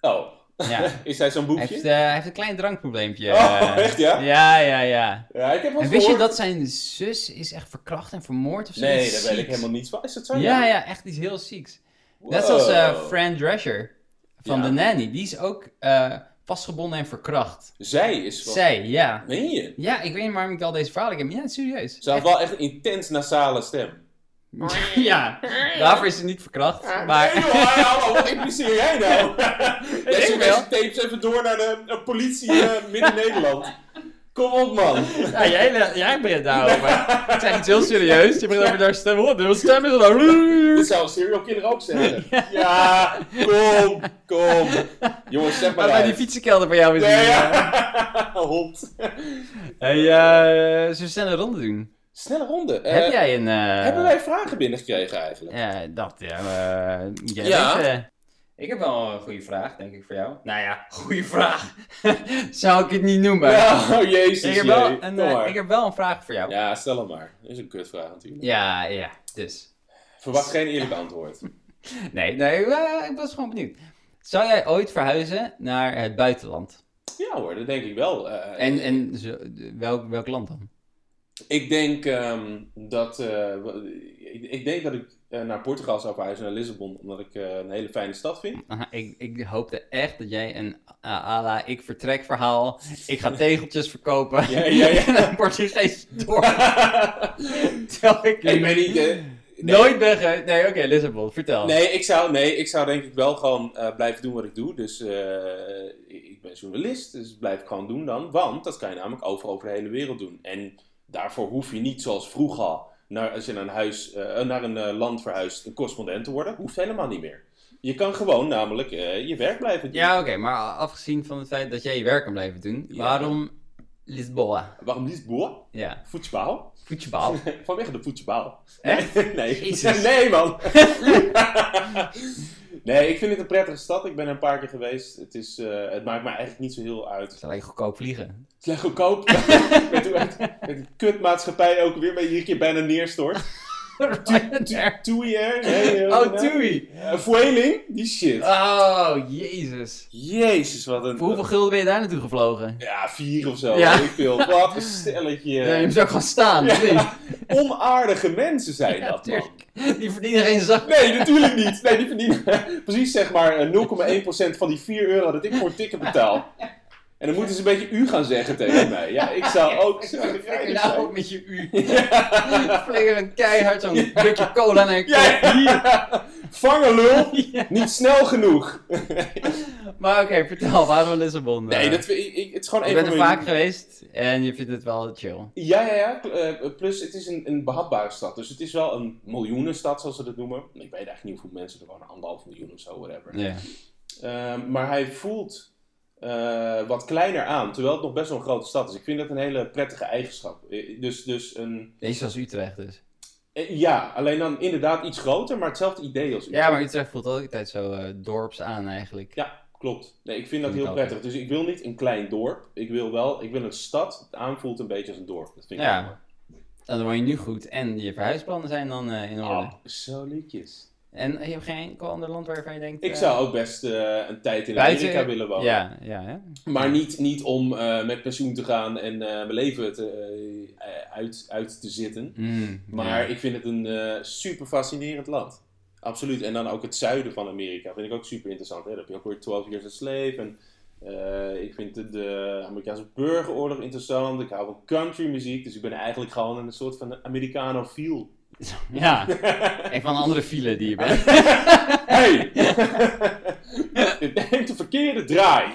Speaker 1: Oh,
Speaker 2: Ja.
Speaker 1: is hij zo'n
Speaker 2: Hij
Speaker 1: boekje?
Speaker 2: heeft, eh, hij heeft een klein drankprobleempje.
Speaker 1: Oh,
Speaker 2: eh.
Speaker 1: echt, ja?
Speaker 2: Ja, ja, ja.
Speaker 1: Ja, ik heb wel
Speaker 2: En
Speaker 1: eens
Speaker 2: wist je
Speaker 1: gehoord-
Speaker 2: dat zijn zus is echt verkracht en vermoord of zo?
Speaker 1: Nee,
Speaker 2: Iets
Speaker 1: daar weet ik
Speaker 2: zieks.
Speaker 1: helemaal niets van. Is dat zo?
Speaker 2: Ja, ja, echt iets heel zieks.
Speaker 1: Wow.
Speaker 2: Net zoals eh, Fran Drescher van
Speaker 1: Ja.
Speaker 2: The Nanny. Die is ook eh, vastgebonden en verkracht.
Speaker 1: Zij is wel...
Speaker 2: Zij, ja.
Speaker 1: Meen je?
Speaker 2: Ja, ik weet niet waarom ik al deze verhalen heb. Ja, serieus.
Speaker 1: Ze had wel echt een intens nasale stem.
Speaker 2: Echt- ja, daarvoor is ze niet verkracht. Maar
Speaker 1: Nee, joh, Ah. hallo, wat impliceer jij nou? Deze
Speaker 2: ik wel.
Speaker 1: mensen tapes even door naar de eh, politie eh, midden-Nederland. Kom op, man.
Speaker 2: ja, jij, jij begint daarover. Het is echt iets heel serieus. Je begint over daar stem. Oh, de stem is er dan.
Speaker 1: Dit zou een serial killer ook zeggen. Ja, kom, kom. Jongens, zeg maar
Speaker 2: Maar bij die
Speaker 1: uit.
Speaker 2: fietsenkelder van jou is
Speaker 1: Nee,
Speaker 2: die, eh,
Speaker 1: ja. Hond.
Speaker 2: Hey, eh, zullen we snel een ronde doen?
Speaker 1: Snelle ronde. Eh,
Speaker 2: Heb jij een... eh,
Speaker 1: Hebben wij vragen binnengekregen eigenlijk?
Speaker 2: Ja, dat ja. maar, eh, jij
Speaker 1: Ja.
Speaker 2: weet, eh. ik heb wel een goede vraag, denk ik, voor jou. Nou ja, goede vraag. Zou ik het niet noemen.
Speaker 1: Ja, oh jezus.
Speaker 2: ik, heb wel
Speaker 1: jee.
Speaker 2: een,
Speaker 1: Kom
Speaker 2: eh,
Speaker 1: maar.
Speaker 2: ik heb wel een vraag voor jou. Ja,
Speaker 1: Ja, stel hem maar. Dat is een kutvraag natuurlijk.
Speaker 2: ja. dus.
Speaker 1: Verwacht geen eerlijk antwoord.
Speaker 2: Nee, nee eh, ik was gewoon benieuwd. Zou jij ooit verhuizen naar het buitenland?
Speaker 1: Ja hoor, dat denk ik wel. Eh,
Speaker 2: En, en zo- welk, welk land dan?
Speaker 1: Ik denk ehm, dat... eh, w- ik, ik denk dat ik eh, naar Portugal zou verhuizen, naar Lissabon. Omdat ik eh, een hele fijne stad vind.
Speaker 2: Aha, ik, ik hoopte echt dat jij een eh, ala ik vertrek verhaal. Ik ga tegeltjes verkopen.
Speaker 1: Ja, ja, ja.
Speaker 2: En een Portugees dorp. Terwijl ik,
Speaker 1: ik weet niet... eh, nee.
Speaker 2: Nooit ben ge- Nee, oké, Lissabon, vertel.
Speaker 1: Nee ik, zou, nee, ik zou denk ik wel gewoon eh, blijven doen wat ik doe. Dus eh, ik ik ben journalist, dus blijf ik gewoon doen dan. Want dat kan je namelijk over, over de hele wereld doen. En daarvoor hoef je niet zoals vroeger, naar, als je naar een, huis, eh, naar een eh, land verhuist, een correspondent te worden. Hoeft helemaal niet meer. Je kan gewoon namelijk eh, je werk blijven doen.
Speaker 2: Ja, oké, maar afgezien van het feit dat jij je werk kan blijven doen,
Speaker 1: Ja.
Speaker 2: waarom Lisboa?
Speaker 1: Waarom niet boer?
Speaker 2: Ja,
Speaker 1: Voetbal?
Speaker 2: voetbal.
Speaker 1: Vanwege de voetbal.
Speaker 2: Echt?
Speaker 1: Nee.
Speaker 2: Jezus.
Speaker 1: Nee, man. nee, ik vind het een prettige stad. Ik ben er een paar keer geweest. Het, is, eh, het maakt me eigenlijk niet zo heel uit.
Speaker 2: Zal je goedkoop vliegen?
Speaker 1: Het is echt goedkoop. met, die- met, met die kutmaatschappij ook weer, bij je hier een keer bijna neerstort.
Speaker 2: Ryanair.
Speaker 1: Toeier. hè, eh,
Speaker 2: Oh, Tui!
Speaker 1: eh, Vueling, die shit.
Speaker 2: Oh, jezus.
Speaker 1: Jezus, wat een...
Speaker 2: Voor hoeveel gulden ben je daar naartoe gevlogen?
Speaker 1: Ja, vier of zo.
Speaker 2: Ja.
Speaker 1: weet Ik veel. Wat een stelletje.
Speaker 2: Ja, je moet ook gaan staan, of
Speaker 1: Ja,
Speaker 2: niet?
Speaker 1: Onaardige mensen zijn
Speaker 2: Ja,
Speaker 1: dat, man.
Speaker 2: tuurlijk. Die verdienen geen zak.
Speaker 1: Nee, natuurlijk niet. Nee, die verdienen precies zeg maar eh, 0,1% van die 4 euro dat ik voor een ticket betaal. En dan moeten ze een beetje u gaan zeggen tegen mij. Ja, ik zou ook zo
Speaker 2: Flikker
Speaker 1: geinig
Speaker 2: nou
Speaker 1: zijn.
Speaker 2: ook met je u. Flikker een keihard zo'n blikje cola naar je kop.
Speaker 1: Ja, ja.
Speaker 2: Hier.
Speaker 1: Vangen lul! Niet snel genoeg!
Speaker 2: Maar oké, vertel, waarom Lissabon?
Speaker 1: Nee,
Speaker 2: eh?
Speaker 1: dat, vind ik, ik- het is gewoon
Speaker 2: Je
Speaker 1: een
Speaker 2: bent
Speaker 1: van
Speaker 2: er
Speaker 1: mijn-
Speaker 2: vaak geweest en je vindt het wel chill.
Speaker 1: Ja, ja, ja. Pl- eh, Plus, het is een, een behapbare stad. Dus het is wel een miljoenenstad, zoals ze dat noemen. Ik weet eigenlijk niet hoeveel mensen er wonen. Anderhalf miljoen of zo, whatever.
Speaker 2: Ja.
Speaker 1: Ehm, maar hij voelt eh, wat kleiner aan, terwijl het nog best wel een grote stad is. Ik vind dat een hele prettige eigenschap. Eh, Dus, dus een,
Speaker 2: Deze was Utrecht dus.
Speaker 1: eh, ja, alleen dan inderdaad iets groter, maar hetzelfde idee als
Speaker 2: Ja, maar Utrecht voelt ook altijd zo eh, dorps aan eigenlijk.
Speaker 1: Ja, klopt. Nee, ik vind dat
Speaker 2: Vind ik
Speaker 1: heel
Speaker 2: ook.
Speaker 1: prettig. Dus ik wil niet een klein dorp. Ik wil wel, ik wil een stad. Het aanvoelt een beetje als een dorp. Dat vind ik
Speaker 2: Ja.
Speaker 1: wel mooi.
Speaker 2: En dan woon je nu goed en je verhuisplannen zijn dan eh, in orde.
Speaker 1: Ah, zo liedjes.
Speaker 2: En je hebt geen enkel ander land waarvan je denkt...
Speaker 1: Ik
Speaker 2: eh,
Speaker 1: zou ook best eh, een tijd in
Speaker 2: buiten-
Speaker 1: Amerika willen wonen.
Speaker 2: Ja, ja, hè?
Speaker 1: Maar niet, niet om eh, met pensioen te gaan en eh, mijn leven te, eh, eh, uit, uit te zitten.
Speaker 2: Mm,
Speaker 1: Maar
Speaker 2: ja.
Speaker 1: ik vind het een eh, super fascinerend land. Absoluut. En dan ook het zuiden van Amerika vind ik ook super interessant. Hè? Dan heb je ook weer 12 Years a Slave. En, eh, ik vind de, de Amerikaanse burgeroorlog interessant. Ik hou van country muziek. Dus ik ben eigenlijk gewoon een soort van Americanofiel.
Speaker 2: Ja, en van andere file die je bent.
Speaker 1: Hey! Dit neemt de verkeerde draai.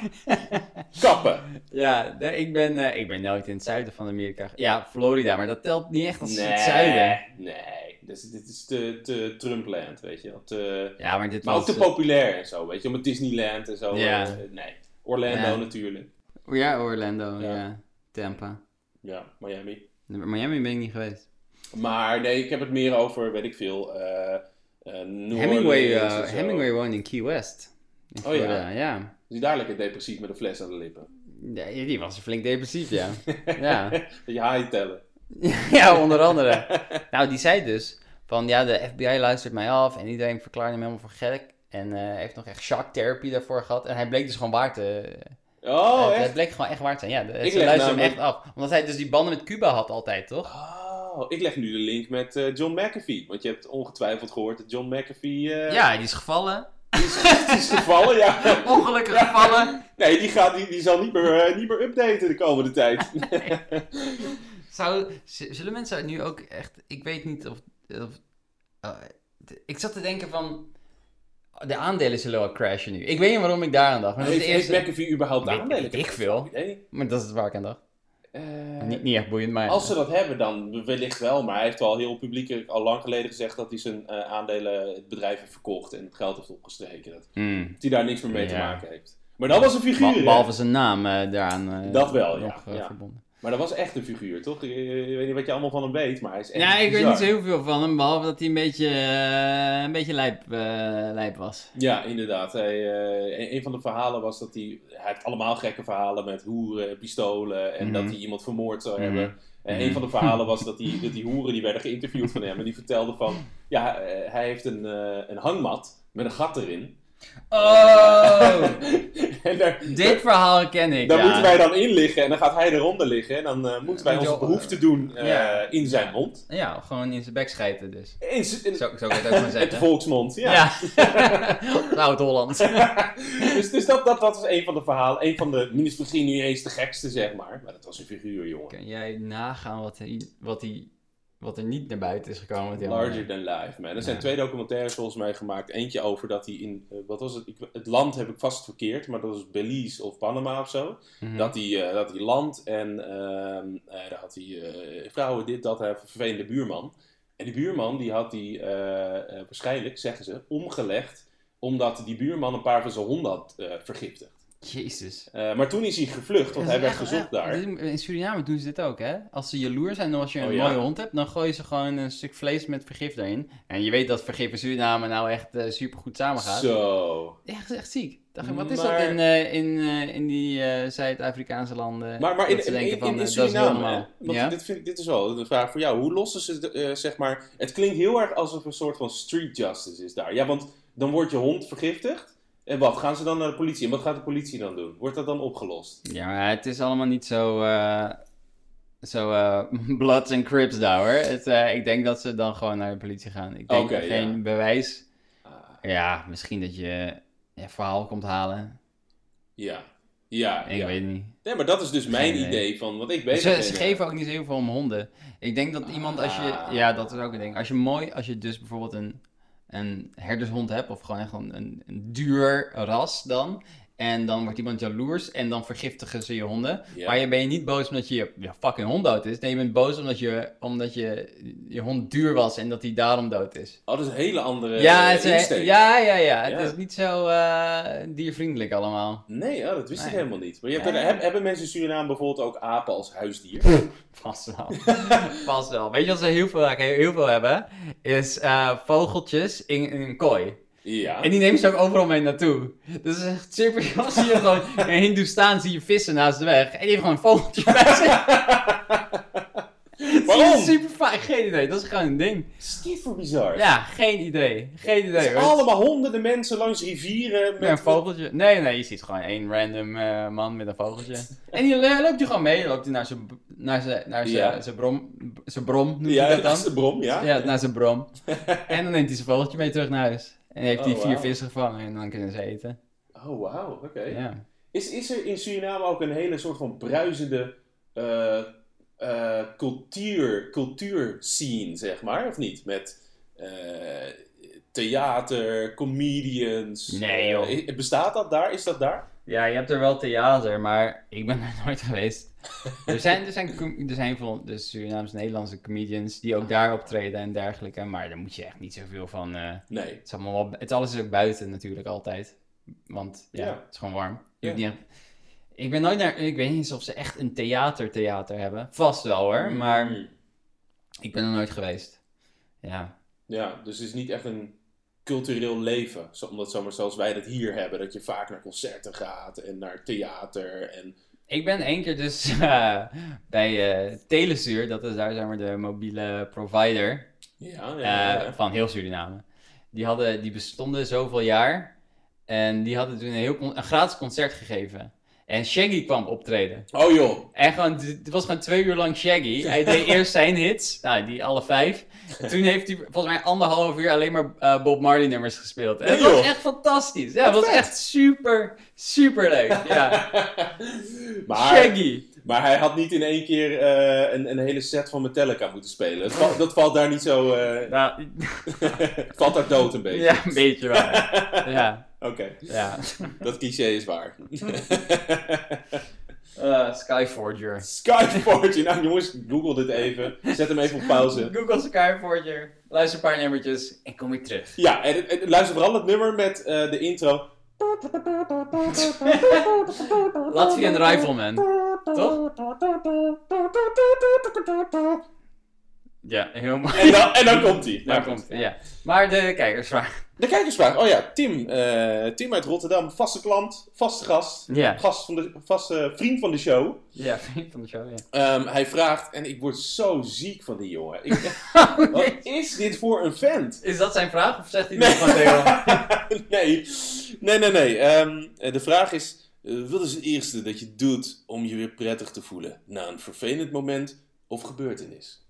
Speaker 1: Kappen.
Speaker 2: Ja, nee, ik, ben, eh, ik ben nooit in het zuiden van Amerika. ge- Ja, Florida, maar dat telt niet echt als het zuiden.
Speaker 1: Nee. Dus, dit is te, te Trumpland, weet je wel. Te,
Speaker 2: Ja, maar dit
Speaker 1: Maar ook
Speaker 2: was...
Speaker 1: te populair en zo, weet je, met Disneyland en zo.
Speaker 2: eh, Ja.
Speaker 1: eh, nee, Orlando
Speaker 2: Ja.
Speaker 1: natuurlijk.
Speaker 2: eh, ja, Orlando, ja.
Speaker 1: Ja.
Speaker 2: Tampa.
Speaker 1: Ja, Miami.
Speaker 2: Miami ben ik niet geweest.
Speaker 1: Maar nee, ik heb het meer over, weet ik veel, eh eh, New
Speaker 2: Hemingway,
Speaker 1: Orleans
Speaker 2: eh,
Speaker 1: en zo.
Speaker 2: Hemingway woonde in Key West. In
Speaker 1: Oh, ja.
Speaker 2: Florida, ja.
Speaker 1: Die is daar lekker depressief met een fles aan de lippen.
Speaker 2: Ja, Die was flink depressief, ja. ja.
Speaker 1: Dat je haaien tellen.
Speaker 2: ja, onder andere. nou, die zei dus van ja, de FBI luistert mij af en iedereen verklaarde hem helemaal voor gek. En eh, hij heeft nog echt shock therapy daarvoor gehad. En hij bleek dus gewoon waar te...
Speaker 1: Oh,
Speaker 2: Eh, het, het
Speaker 1: echt?
Speaker 2: bleek gewoon echt waar te zijn. Ja, de, ze
Speaker 1: leg
Speaker 2: luisteren hem
Speaker 1: namelijk-
Speaker 2: echt af. Omdat hij dus die banden met Cuba had altijd, toch?
Speaker 1: Oh, ik leg nu de link met eh, John McAfee. Want je hebt ongetwijfeld gehoord dat John McAfee eh
Speaker 2: Ja, die is gevallen.
Speaker 1: is gevallen. Ja.
Speaker 2: Ongelukkig gevallen.
Speaker 1: Nee, die, gaat, die, die zal niet meer, eh, niet meer updaten de komende tijd.
Speaker 2: Zou, z- zullen mensen nu ook echt... Ik weet niet of... of- eh, d- ik zat te denken van... De aandelen zullen wel crashen nu. Ik weet niet waarom ik daar aan dacht. Maar, dat is
Speaker 1: Heeft,
Speaker 2: het
Speaker 1: heeft
Speaker 2: eerste,
Speaker 1: McAfee überhaupt
Speaker 2: Weet-
Speaker 1: aandelen?
Speaker 2: weet
Speaker 1: heb
Speaker 2: ik
Speaker 1: geen
Speaker 2: veel.
Speaker 1: idee.
Speaker 2: maar dat is waar ik aan dacht.
Speaker 1: Eh,
Speaker 2: Niet, niet echt boeiend, maar...
Speaker 1: Als ze dat hebben, dan wellicht wel. Maar hij heeft al heel publiekelijk al lang geleden gezegd dat hij zijn eh, aandelen het bedrijf heeft verkocht en het geld heeft opgestreken. Dat,
Speaker 2: Hmm.
Speaker 1: dat hij daar niks meer mee te
Speaker 2: Ja.
Speaker 1: maken heeft. Maar dat was een figuur.
Speaker 2: Be-
Speaker 1: hè?
Speaker 2: Behalve zijn naam eh, daaraan. eh,
Speaker 1: Dat wel, ja.
Speaker 2: nog, eh,
Speaker 1: Ja.
Speaker 2: verbonden.
Speaker 1: Maar dat was echt een figuur, toch? Ik, ik weet niet wat je allemaal van hem weet, maar hij is echt.
Speaker 2: Ja, ik weet
Speaker 1: bizar.
Speaker 2: niet zo heel veel van hem, behalve dat hij een beetje, eh, een beetje lijp, eh, lijp was.
Speaker 1: Ja, inderdaad. Hij, eh, een- een van de verhalen was dat hij. Hij heeft allemaal gekke verhalen met hoeren, pistolen en
Speaker 2: Mhm.
Speaker 1: dat hij iemand vermoord zou
Speaker 2: Mhm.
Speaker 1: hebben. En een
Speaker 2: Mhm.
Speaker 1: van de verhalen was dat die, dat die hoeren die werden geïnterviewd van hem. En die vertelden van, ja, eh, hij heeft een, eh, een hangmat met een gat erin.
Speaker 2: Oh,
Speaker 1: en daar,
Speaker 2: dit verhaal ken ik.
Speaker 1: daar
Speaker 2: ja.
Speaker 1: moeten wij dan in liggen en dan gaat hij eronder liggen. En dan eh, moeten wij
Speaker 2: Moet je
Speaker 1: onze
Speaker 2: wel-
Speaker 1: behoefte doen eh,
Speaker 2: Ja.
Speaker 1: in zijn mond.
Speaker 2: Ja, gewoon in zijn bek schijten dus.
Speaker 1: In, z- in,
Speaker 2: Zo, zo kan je het ook maar
Speaker 1: uit de
Speaker 2: zeggen.
Speaker 1: volksmond, ja.
Speaker 2: Ja. Nou, Oud-Holland.
Speaker 1: Dus, dus dat, dat, dat was een van de verhalen. Een van de, misschien niet eens de gekste, zeg maar. Maar dat was een figuur, jongen.
Speaker 2: Kun jij nagaan wat, hij, wat, hij, wat er niet naar buiten is gekomen? met die
Speaker 1: Larger
Speaker 2: handen?
Speaker 1: Than Life, man. Er zijn
Speaker 2: Ja.
Speaker 1: twee documentaires volgens mij gemaakt. Eentje over dat hij in, eh, wat was het? Ik, het land heb ik vast verkeerd, maar dat was Belize of Panama of zo.
Speaker 2: Mhm.
Speaker 1: Dat hij, eh, dat hij land en ehm, eh, daar had hij eh, vrouwen, dit, dat, hij had een vervelende buurman. En die buurman, die had hij eh, eh, waarschijnlijk, zeggen ze, omgelegd. Omdat die buurman een paar van zijn honden had eh, vergiftigd.
Speaker 2: Jezus.
Speaker 1: Eh, maar toen is hij gevlucht, want hij werd gezocht daar.
Speaker 2: In Suriname doen ze dit ook, hè? Als ze jaloers zijn, dan als je een
Speaker 1: Oh, ja?
Speaker 2: mooie hond hebt, dan gooien ze gewoon een stuk vlees met vergif erin. En je weet dat vergif in Suriname nou echt super supergoed samengaat.
Speaker 1: Zo.
Speaker 2: Echt, echt ziek. Dacht ik, wat is dat
Speaker 1: Maar-
Speaker 2: in, eh, in, eh, in die eh, Zuid-Afrikaanse landen?
Speaker 1: Maar, maar in,
Speaker 2: dat ze
Speaker 1: in,
Speaker 2: denken
Speaker 1: in,
Speaker 2: van,
Speaker 1: in
Speaker 2: eh, dat is heel
Speaker 1: Suriname, hè?
Speaker 2: normaal.
Speaker 1: want
Speaker 2: Ja?
Speaker 1: dit, vind, ik- dit is wel een vraag voor jou. Hoe lossen ze, de- eh, zeg maar... Het klinkt heel erg alsof een soort van street justice is daar. Ja, want dan wordt je hond vergiftigd. En wat? Gaan ze dan naar de politie? En wat gaat de politie dan doen? Wordt dat dan opgelost?
Speaker 2: Ja, maar het is allemaal niet zo. eh zo eh Bloods en Crips daar hoor. Het, eh, ik denk dat ze dan gewoon naar de politie gaan. Ik denk
Speaker 1: Oké, ja.
Speaker 2: geen bewijs.
Speaker 1: Ah,
Speaker 2: Ja, misschien dat je een verhaal komt halen.
Speaker 1: ja. Ja,
Speaker 2: Ik
Speaker 1: ja.
Speaker 2: weet het niet.
Speaker 1: Nee, maar dat is dus mijn
Speaker 2: idee.
Speaker 1: idee van wat ik weet.
Speaker 2: Ze, ze geven ook niet zo heel veel om honden. Ik denk dat iemand als je.
Speaker 1: Ah.
Speaker 2: Ja, dat is ook een ding. Als je mooi, als je dus bijvoorbeeld een, een herdershond hebt, of gewoon echt een, een, een duur ras dan. En dan wordt iemand jaloers en dan vergiftigen ze je honden.
Speaker 1: Ja.
Speaker 2: Maar je ben je niet boos omdat je je fucking hond dood is. Nee, je bent boos omdat je, omdat je, je hond duur was en dat hij daarom dood is.
Speaker 1: Oh, dat is een hele andere
Speaker 2: ja,
Speaker 1: eh,
Speaker 2: het is,
Speaker 1: insteek.
Speaker 2: ja, ja, ja. Het
Speaker 1: Ja.
Speaker 2: is niet zo eh, diervriendelijk allemaal.
Speaker 1: Nee, oh, dat wist
Speaker 2: Nee.
Speaker 1: ik helemaal niet. Maar je hebt
Speaker 2: Nee.
Speaker 1: er- heb- hebben mensen in Suriname bijvoorbeeld ook apen als huisdier?
Speaker 2: Vast wel. Vast wel. Weet je wat ze heel veel, heel veel hebben? Is eh, vogeltjes in, in een kooi.
Speaker 1: ja.
Speaker 2: En die nemen ze ook overal mee naartoe. Dus dat is echt super cool. Zie je gewoon in Hindoestaan zie je vissen naast de weg. En die heeft gewoon een vogeltje bij zich. Dat is
Speaker 1: Waarom?
Speaker 2: super fijn. Geen idee. Dat is gewoon een ding.
Speaker 1: Stiffer bizar.
Speaker 2: Ja, geen idee. Geen
Speaker 1: Het
Speaker 2: idee.
Speaker 1: is
Speaker 2: hoor.
Speaker 1: Dus allemaal honderden mensen langs rivieren
Speaker 2: Met een
Speaker 1: met...
Speaker 2: vogeltje. Nee, nee, je ziet gewoon één random eh, man met een vogeltje. En die lo- loopt hij gewoon mee, loopt hij naar zijn b- naar zijn- naar zijn-
Speaker 1: Ja.
Speaker 2: zijn brom, b- zijn brom noemt
Speaker 1: ja,
Speaker 2: hij dat
Speaker 1: dat is
Speaker 2: dan?
Speaker 1: de brom, ja.
Speaker 2: Ja, naar zijn brom. En dan neemt hij zijn vogeltje mee terug naar huis. En heeft
Speaker 1: Oh,
Speaker 2: hij vier
Speaker 1: wauw.
Speaker 2: vissen gevangen en dan kunnen ze eten.
Speaker 1: Oh, wauw, oké.
Speaker 2: Ja.
Speaker 1: Is, is er in Suriname ook een hele soort van bruisende eh, eh, cultuur, cultuurscene, zeg maar, of niet? Met eh, theater, comedians.
Speaker 2: Nee, joh.
Speaker 1: Eh, i- bestaat dat daar? Is dat daar?
Speaker 2: ja, je hebt er wel theater, maar ik ben er nooit geweest. Er zijn, er zijn, com- er zijn veel dus Surinaams-Nederlandse comedians die ook daar optreden en dergelijke. Maar daar moet je echt niet zoveel van... eh,
Speaker 1: Nee.
Speaker 2: Het is allemaal wel, het alles is ook buiten natuurlijk altijd. Want ja,
Speaker 1: Ja.
Speaker 2: het is gewoon warm. Je
Speaker 1: Ja.
Speaker 2: hoeft niet echt- ik ben nooit naar, ik weet niet eens of ze echt een theater theater hebben. Vast wel hoor, maar
Speaker 1: Mm.
Speaker 2: ik ben er nooit geweest. Ja,
Speaker 1: Ja, dus het is niet echt een cultureel leven. Zo- Omdat zomaar zoals wij dat hier hebben, dat je vaak naar concerten gaat en naar theater en...
Speaker 2: ik ben één keer dus eh, bij eh Telesuur, dat is daar zeg maar de mobiele provider
Speaker 1: Ja, ja,
Speaker 2: eh,
Speaker 1: ja, ja.
Speaker 2: van heel Suriname. Die, hadden, die bestonden zoveel jaar en die hadden toen een, heel, con- een gratis concert gegeven. En Shaggy kwam optreden.
Speaker 1: Oh joh,
Speaker 2: En gewoon, het was gewoon twee uur lang Shaggy. Hij deed eerst zijn hits, nou, die alle vijf. Toen heeft hij volgens mij anderhalf uur alleen maar eh, Bob Marley nummers gespeeld. En
Speaker 1: Nee,
Speaker 2: het was
Speaker 1: joh.
Speaker 2: echt fantastisch. Ja, het was echt super, super leuk. Ja.
Speaker 1: maar...
Speaker 2: eh, Shaggy.
Speaker 1: Maar hij had niet in één keer eh, een, een hele set van Metallica moeten spelen. Dat, valt- dat valt daar niet zo. eh,
Speaker 2: Nou,
Speaker 1: valt daar dood een beetje.
Speaker 2: ja, een beetje wel. Ja,
Speaker 1: Oké,
Speaker 2: ja.
Speaker 1: dat cliché is waar.
Speaker 2: Eh, Skyforger.
Speaker 1: Skyforge. Nou jongens, google dit even. Zet hem even op pauze.
Speaker 2: Google Skyforger. Luister een paar nummertjes en kom weer terug.
Speaker 1: Ja, en, en luister vooral het nummer met eh, de intro.
Speaker 2: Latvian Rifleman. Toch? Ja, heel mooi.
Speaker 1: En dan, en dan komt hij.
Speaker 2: Daar komt ja. Maar de kijkersvraag.
Speaker 1: De kijkersvraag. Oh ja, Tim. eh, Tim uit Rotterdam. Vaste klant, vaste gast.
Speaker 2: Ja.
Speaker 1: Gast van de, vaste vriend van de show.
Speaker 2: Ja, vriend van de show, ja.
Speaker 1: Ehm, hij vraagt, en ik word zo ziek van die jongen. Ik,
Speaker 2: Oh,
Speaker 1: wat is dit voor een vent?
Speaker 2: Is dat zijn vraag of zegt hij
Speaker 1: Nee.
Speaker 2: dat gewoon tegen
Speaker 1: nee, nee, nee. nee. Ehm, eh, de vraag is, eh, wat is het eerste dat je doet om je weer prettig te voelen? Na een vervelend moment of gebeurtenis?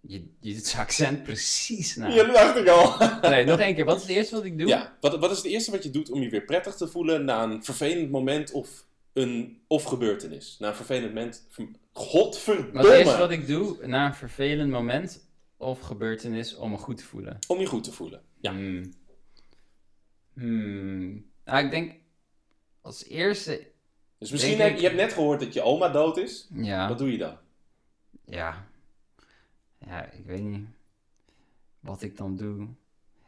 Speaker 2: Je, je doet zijn accent precies na.
Speaker 1: Ja, dat dacht ik al.
Speaker 2: Nee, nog één keer. Wat is het eerste wat ik doe?
Speaker 1: ja, wat, wat is het eerste wat je doet om je weer prettig te voelen na een vervelend moment of, een, of gebeurtenis? Na een vervelend moment...
Speaker 2: Wat is het eerste
Speaker 1: Godverdomme!
Speaker 2: wat ik doe na een vervelend moment of gebeurtenis om me goed te voelen?
Speaker 1: Om je goed te voelen. Ja.
Speaker 2: Hmm. Hmm. Nou, ik denk als eerste...
Speaker 1: Dus misschien,
Speaker 2: Denk ik-
Speaker 1: heb, je hebt net gehoord dat je oma dood is.
Speaker 2: Ja.
Speaker 1: Wat doe je dan?
Speaker 2: Ja. Ja, ik weet niet wat ik dan doe.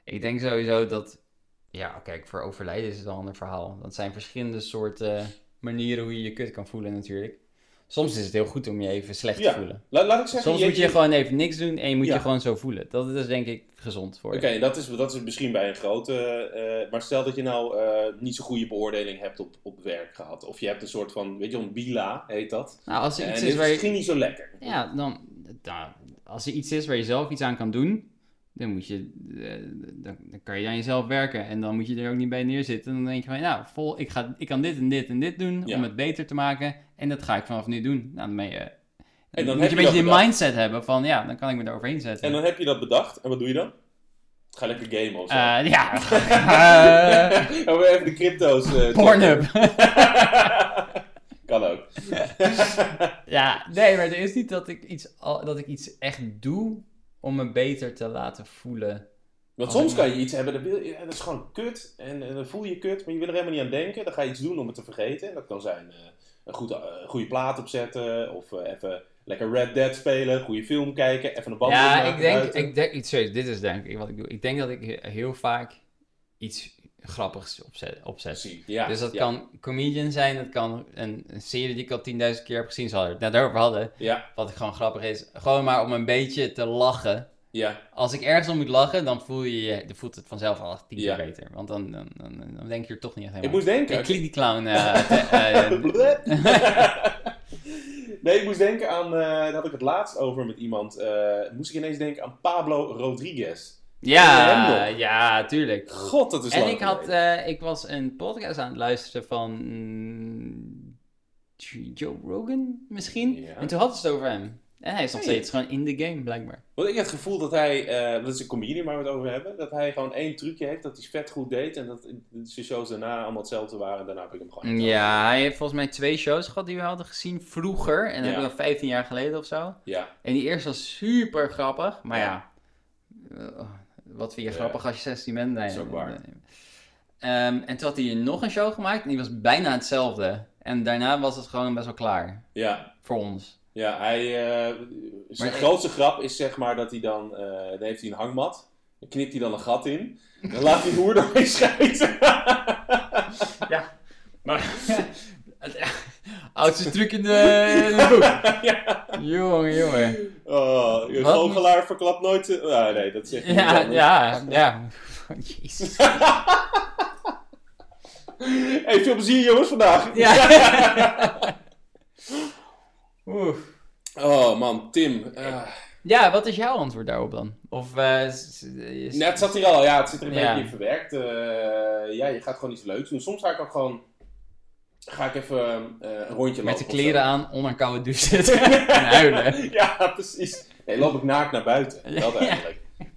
Speaker 2: Ik denk sowieso dat. Ja, kijk, voor overlijden is het al een ander verhaal. Dat zijn verschillende soorten manieren hoe je je kut kan voelen, natuurlijk. Soms is het heel goed om je even slecht
Speaker 1: Ja,
Speaker 2: te voelen.
Speaker 1: La- laat ik zeggen,
Speaker 2: Soms moet je gewoon even niks doen en je moet
Speaker 1: Ja.
Speaker 2: je gewoon zo voelen. Dat is denk ik gezond voor
Speaker 1: Oké,
Speaker 2: je.
Speaker 1: dat, is, dat is misschien bij een grote... eh, maar stel dat je nou eh, niet zo'n goede beoordeling hebt op, op werk gehad. Of je hebt een soort van, weet je, een bila heet dat.
Speaker 2: Nou, als
Speaker 1: En
Speaker 2: er
Speaker 1: dit
Speaker 2: iets
Speaker 1: is
Speaker 2: is waar je.
Speaker 1: misschien niet zo lekker.
Speaker 2: Ja, dan, dan- als er iets is waar je zelf iets aan kan doen, dan, moet je, eh, dan, dan kan je aan jezelf werken. En dan moet je er ook niet bij neerzitten. Dan denk je van, nou, vol, ik, ga, ik kan dit en dit en dit doen
Speaker 1: Ja.
Speaker 2: om het beter te maken. En dat ga ik vanaf nu doen. Nou, dan, ben je, dan,
Speaker 1: dan heb
Speaker 2: moet je een
Speaker 1: je
Speaker 2: beetje
Speaker 1: dat
Speaker 2: die
Speaker 1: bedacht.
Speaker 2: mindset hebben van, ja, dan kan ik me daar overheen zetten.
Speaker 1: En dan heb je dat bedacht. En wat doe je dan? Ga lekker gamen of zo.
Speaker 2: Eh, ja, Eh,
Speaker 1: Gaan we even de crypto's... eh,
Speaker 2: Pornhub.
Speaker 1: kan ook.
Speaker 2: ja, nee, maar er is niet dat ik iets, al- dat ik iets echt doe om me beter te laten voelen.
Speaker 1: Want soms kan je iets hebben, dat, wil je- ja, dat is gewoon kut. En, en dan voel je je kut, maar je wil er helemaal niet aan denken. Dan ga je iets doen om het te vergeten. En dat kan zijn eh, een goede, eh, goede plaat opzetten. Of eh, even lekker Red Dead spelen. een Goede film kijken. Even een wandeling
Speaker 2: Ja,
Speaker 1: maken
Speaker 2: ik denk,
Speaker 1: buiten.
Speaker 2: ik denk iets serieus. Dit is denk ik wat ik doe. Ik denk dat ik he- heel vaak iets grappigs opzet. opzet.
Speaker 1: Precies, ja,
Speaker 2: dus dat
Speaker 1: ja,
Speaker 2: kan comedian zijn, dat kan een, een serie die ik al 10.000 keer heb gezien, zal het net over hadden.
Speaker 1: Ja,
Speaker 2: Wat gewoon grappig is, gewoon maar om een beetje te lachen.
Speaker 1: ja,
Speaker 2: Als ik ergens om moet lachen, dan voel je, je dan voelt het vanzelf al tien
Speaker 1: Ja.
Speaker 2: keer beter. Want dan, dan, dan, dan denk je er toch niet echt
Speaker 1: ik
Speaker 2: helemaal
Speaker 1: moest denken.
Speaker 2: Ik klik die clown. eh, te- eh,
Speaker 1: nee, ik moest denken aan. eh daar had ik het laatst over met iemand. eh, moest ik ineens denken aan Pablo Rodriguez. Ken je
Speaker 2: ja,
Speaker 1: hem
Speaker 2: ja, tuurlijk.
Speaker 1: God, dat is
Speaker 2: En
Speaker 1: lang
Speaker 2: ik, had,
Speaker 1: geleden.
Speaker 2: eh, ik was een podcast aan het luisteren van mm, Joe Rogan misschien.
Speaker 1: Ja.
Speaker 2: En toen hadden ze het over hem. En hij is nog
Speaker 1: Hey.
Speaker 2: steeds gewoon in de game, blijkbaar.
Speaker 1: Want ik heb het gevoel dat hij. eh, dat is een comedian waar we het over hebben. Dat hij gewoon één trucje heeft dat hij vet goed deed. En dat zijn shows daarna allemaal hetzelfde waren. En daarna heb ik hem gewoon.
Speaker 2: Ja, hij heeft volgens mij twee shows gehad die we hadden gezien vroeger. En dat
Speaker 1: Ja.
Speaker 2: was 15 jaar geleden of zo.
Speaker 1: Ja,
Speaker 2: En die eerste was super grappig. Maar ja,
Speaker 1: Ja.
Speaker 2: eh, wat vind je
Speaker 1: Ja.
Speaker 2: grappig als je 16 bent? Nee,
Speaker 1: Is ook waar.
Speaker 2: Ehm, en toen had hij nog een show gemaakt en die was bijna hetzelfde. En daarna was het gewoon best wel klaar
Speaker 1: ja.
Speaker 2: voor ons.
Speaker 1: Ja, hij, eh, zijn
Speaker 2: Maar-
Speaker 1: grootste grap is zeg maar dat hij dan, eh, dan heeft hij een hangmat, dan knipt hij dan een gat in, dan laat hij de hoer doorheen schijten.
Speaker 2: Ja. Maar... Oudste truc in de, in het boek.
Speaker 1: ja.
Speaker 2: Jongen, jongen.
Speaker 1: Oh, je
Speaker 2: Wat?
Speaker 1: goochelaar verklapt nooit... zijn- Ah, nee, dat zeg ik
Speaker 2: Ja,
Speaker 1: niet.
Speaker 2: ja, ja. Jezus.
Speaker 1: Hey, veel plezier jongens vandaag.
Speaker 2: Ja. Oeh.
Speaker 1: Oh man, Tim. eh,
Speaker 2: Ja, wat is jouw antwoord daarop dan? Of... eh, s- s- is-
Speaker 1: net zat hier al, ja, het zit er een
Speaker 2: Ja.
Speaker 1: beetje in verwerkt. Eh, ja, je gaat gewoon iets leuks doen. Soms ga ik ook gewoon... Ga ik even eh, een rondje
Speaker 2: Met de
Speaker 1: lopen of zo.
Speaker 2: kleren aan, onder een koude douche zitten en huilen.
Speaker 1: Ja, precies. Nee, loop ik naakt naar buiten. Dat
Speaker 2: Ja.
Speaker 1: eigenlijk.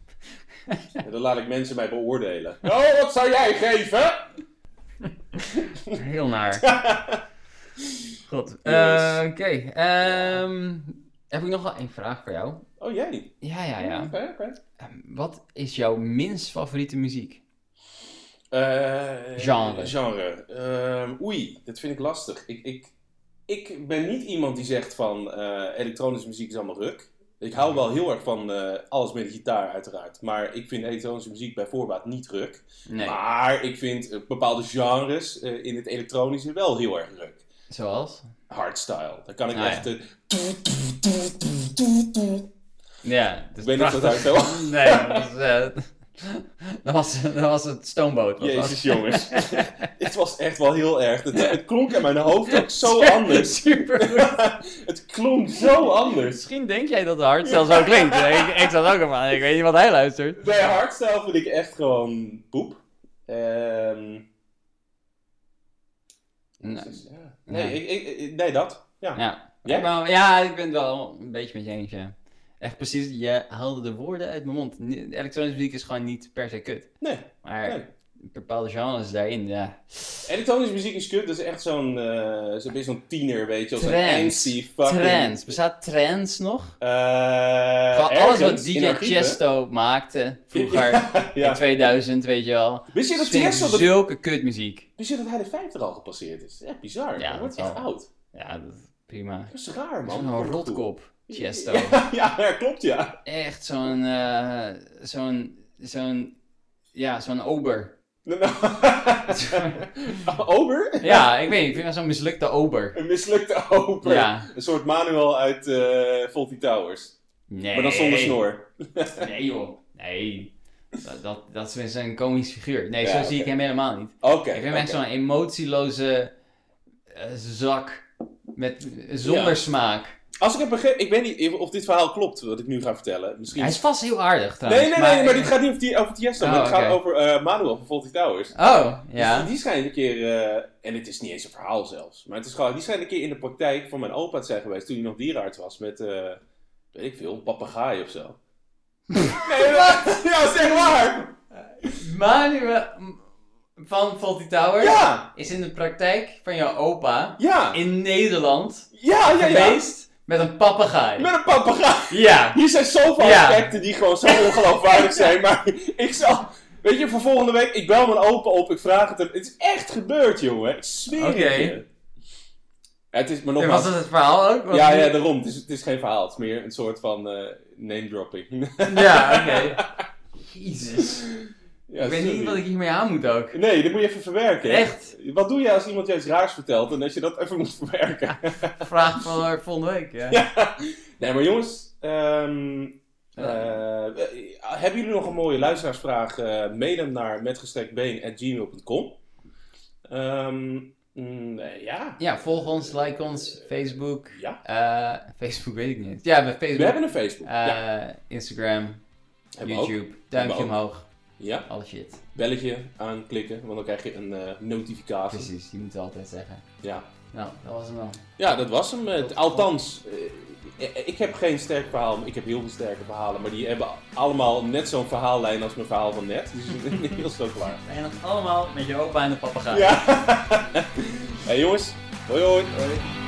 Speaker 1: En dan laat ik mensen mij beoordelen. Oh, wat zou jij geven?
Speaker 2: Heel naar. God.
Speaker 1: Yes.
Speaker 2: Eh, Oké. ehm, heb ik nog wel één vraag voor jou?
Speaker 1: Oh, jij?
Speaker 2: Ja, Ah, ja, ja.
Speaker 1: Oké, oké.
Speaker 2: Wat is jouw minst favoriete muziek?
Speaker 1: Eh,
Speaker 2: Genre.
Speaker 1: Genre. Ehm, oei, dat vind ik lastig. Ik, ik, ik ben niet iemand die zegt van eh, elektronische muziek is allemaal ruk. Ik hou wel heel erg van eh, alles met gitaar uiteraard. Maar ik vind elektronische muziek bij voorbaat niet ruk.
Speaker 2: Nee.
Speaker 1: Maar ik vind eh, bepaalde genres eh, in het elektronische wel heel erg ruk.
Speaker 2: Zoals?
Speaker 1: hardstyle. Dan kan ik
Speaker 2: Ah,
Speaker 1: echt...
Speaker 2: ja.
Speaker 1: eh, toe, toe, toe, toe, toe, toe.
Speaker 2: Ja, dat is
Speaker 1: Ik weet niet of dat
Speaker 2: prachtig.
Speaker 1: uit zo.
Speaker 2: Nee, dat was, eh, dat, was, dat was het stoomboot. was
Speaker 1: Jezus jongens. Dit was echt wel heel erg. Het, het klonk in mijn hoofd ook zo anders.
Speaker 2: Super goed.
Speaker 1: het klonk zo anders.
Speaker 2: Misschien denk jij dat hard zelfs zo klinkt. Ik, ik zat ook al van, ik weet niet wat hij luistert.
Speaker 1: Bij hardstyle vind ik echt gewoon poep. Ehm,
Speaker 2: Nee.
Speaker 1: dus ja.
Speaker 2: Nee.
Speaker 1: nee, ik, ik- ik- nee, dat. Ja.
Speaker 2: Nou, Ja.
Speaker 1: Jij?
Speaker 2: Ik ben- ja, ik ben het wel een beetje met je eens. ja. Echt precies, je haalde de woorden uit mijn mond. Ni- Elektronische muziek is gewoon niet per se kut.
Speaker 1: Nee,
Speaker 2: Maar
Speaker 1: nee.
Speaker 2: bepaalde genres daarin, ja.
Speaker 1: Elektronische muziek is kut. Dat is echt zo'n eh, zo'n beetje zo'n tiener, weet je. wel, Zo'n
Speaker 2: Trends.
Speaker 1: anti fucking...
Speaker 2: Trends. Bestaat trends nog?
Speaker 1: Eh,
Speaker 2: Van alles wat
Speaker 1: ergens in
Speaker 2: DJ
Speaker 1: archieven.
Speaker 2: Chesto maakte vroeger in
Speaker 1: Ja.
Speaker 2: 2000, weet je wel.
Speaker 1: Wist je dat
Speaker 2: Vind ik
Speaker 1: Tiesto de
Speaker 2: Zulke kutmuziek.
Speaker 1: Wist je dat hij de 50 al gepasseerd is? Echt bizar.
Speaker 2: Ja,
Speaker 1: hij wordt
Speaker 2: dat
Speaker 1: echt
Speaker 2: wel.
Speaker 1: oud.
Speaker 2: Ja, dat is prima.
Speaker 1: Dat is raar, man.
Speaker 2: Zo'n rotkop, Chesto.
Speaker 1: Ja, ja, ja, klopt, ja.
Speaker 2: Echt zo'n, eh, zo'n, zo'n, ja, zo'n ober.
Speaker 1: Nou, nou. ober?
Speaker 2: Ja, ik weet niet, ik vind dat zo'n mislukte ober.
Speaker 1: Een mislukte ober.
Speaker 2: Ja.
Speaker 1: Een soort manual uit eh Faulty Towers.
Speaker 2: Nee.
Speaker 1: Maar dan zonder snor.
Speaker 2: Nee joh, nee. Dat, dat, dat is een komisch figuur. Nee,
Speaker 1: Ja,
Speaker 2: zo
Speaker 1: oké.
Speaker 2: zie ik hem helemaal niet.
Speaker 1: Oké.
Speaker 2: Ik vind hem
Speaker 1: oké.
Speaker 2: echt zo'n emotieloze eh, zak. Met, zonder
Speaker 1: Ja.
Speaker 2: smaak.
Speaker 1: Als ik heb begrepen... Ik weet niet of dit verhaal klopt, wat ik nu ga vertellen. Misschien...
Speaker 2: Hij is vast heel aardig
Speaker 1: Nee,
Speaker 2: trouwens.
Speaker 1: nee, nee, maar, dit gaat niet over, die, over Tiesto.
Speaker 2: Oh,
Speaker 1: maar het gaat
Speaker 2: oké.
Speaker 1: over eh, Manuel van Faulty Towers.
Speaker 2: Oh,
Speaker 1: Dus
Speaker 2: ja.
Speaker 1: die schijnt een keer, eh, en het is niet eens een verhaal zelfs, maar het is gewoon, die schijnt een keer in de praktijk van mijn opa te zijn geweest toen hij nog dierenarts was met, eh, weet ik veel, een papegaai of zo. nee, wat? Ja, zeg waar!
Speaker 2: Manuel eh, van Faulty Towers
Speaker 1: Ja!
Speaker 2: is in de praktijk van jouw opa
Speaker 1: Ja!
Speaker 2: in Nederland
Speaker 1: Ja, ja, ja!
Speaker 2: geweest Met een papegaai.
Speaker 1: Met een papegaai.
Speaker 2: Ja.
Speaker 1: Hier zijn zoveel
Speaker 2: Ja.
Speaker 1: aspecten die gewoon zo ongeloofwaardig zijn. Maar ik zal... Weet je, voor volgende week, ik bel mijn opa op, ik vraag het hem. Het is echt gebeurd, jongen. Ik zweer het
Speaker 2: Oké.
Speaker 1: je. Ja, Het is maar
Speaker 2: En
Speaker 1: nogmaals...
Speaker 2: was dat het verhaal ook? Was
Speaker 1: Ja,
Speaker 2: het-
Speaker 1: ja, daarom. Het is, het is geen verhaal. Het is meer een soort van eh name dropping.
Speaker 2: Ja, oké. Jezus.
Speaker 1: ja,
Speaker 2: ik weet
Speaker 1: sorry.
Speaker 2: niet wat ik hiermee aan moet ook.
Speaker 1: Nee, dat moet je even verwerken. hè?
Speaker 2: Echt?
Speaker 1: Wat doe je als iemand je iets raars vertelt en dat je dat even moet verwerken?
Speaker 2: Vraag van eh, volgende week, ja.
Speaker 1: nee, maar jongens, ehm, eh, eh, hebben jullie nog een mooie luisteraarsvraag? eh mail hem naar metgestrektbeen.gmail.com Ehm mm, eh, ja.
Speaker 2: Ja, volg ons, like ons, Facebook.
Speaker 1: ja,
Speaker 2: Eh, Facebook weet ik niet. Ja, met
Speaker 1: we
Speaker 2: Facebook.
Speaker 1: hebben een Facebook.
Speaker 2: Eh,
Speaker 1: ja,
Speaker 2: Instagram,
Speaker 1: hebben we ook.
Speaker 2: YouTube. Duimpje
Speaker 1: Hebben we
Speaker 2: omhoog.
Speaker 1: Ja,
Speaker 2: Alle shit.
Speaker 1: belletje aanklikken, want dan krijg je een eh, notificatie.
Speaker 2: Precies, die moeten we altijd zeggen.
Speaker 1: Ja.
Speaker 2: Nou, dat was hem wel.
Speaker 1: Ja, dat was hem. Het-
Speaker 2: Tot-
Speaker 1: Althans, eh, ik heb geen sterk verhaal, maar ik heb heel veel sterke verhalen. Maar die hebben allemaal net zo'n verhaallijn als mijn verhaal van net. Dus ik ben heel snel klaar.
Speaker 2: En dat allemaal met je opa en de papegaai.
Speaker 1: Ja. hey, jongens, hoi hoi.
Speaker 2: Hoi.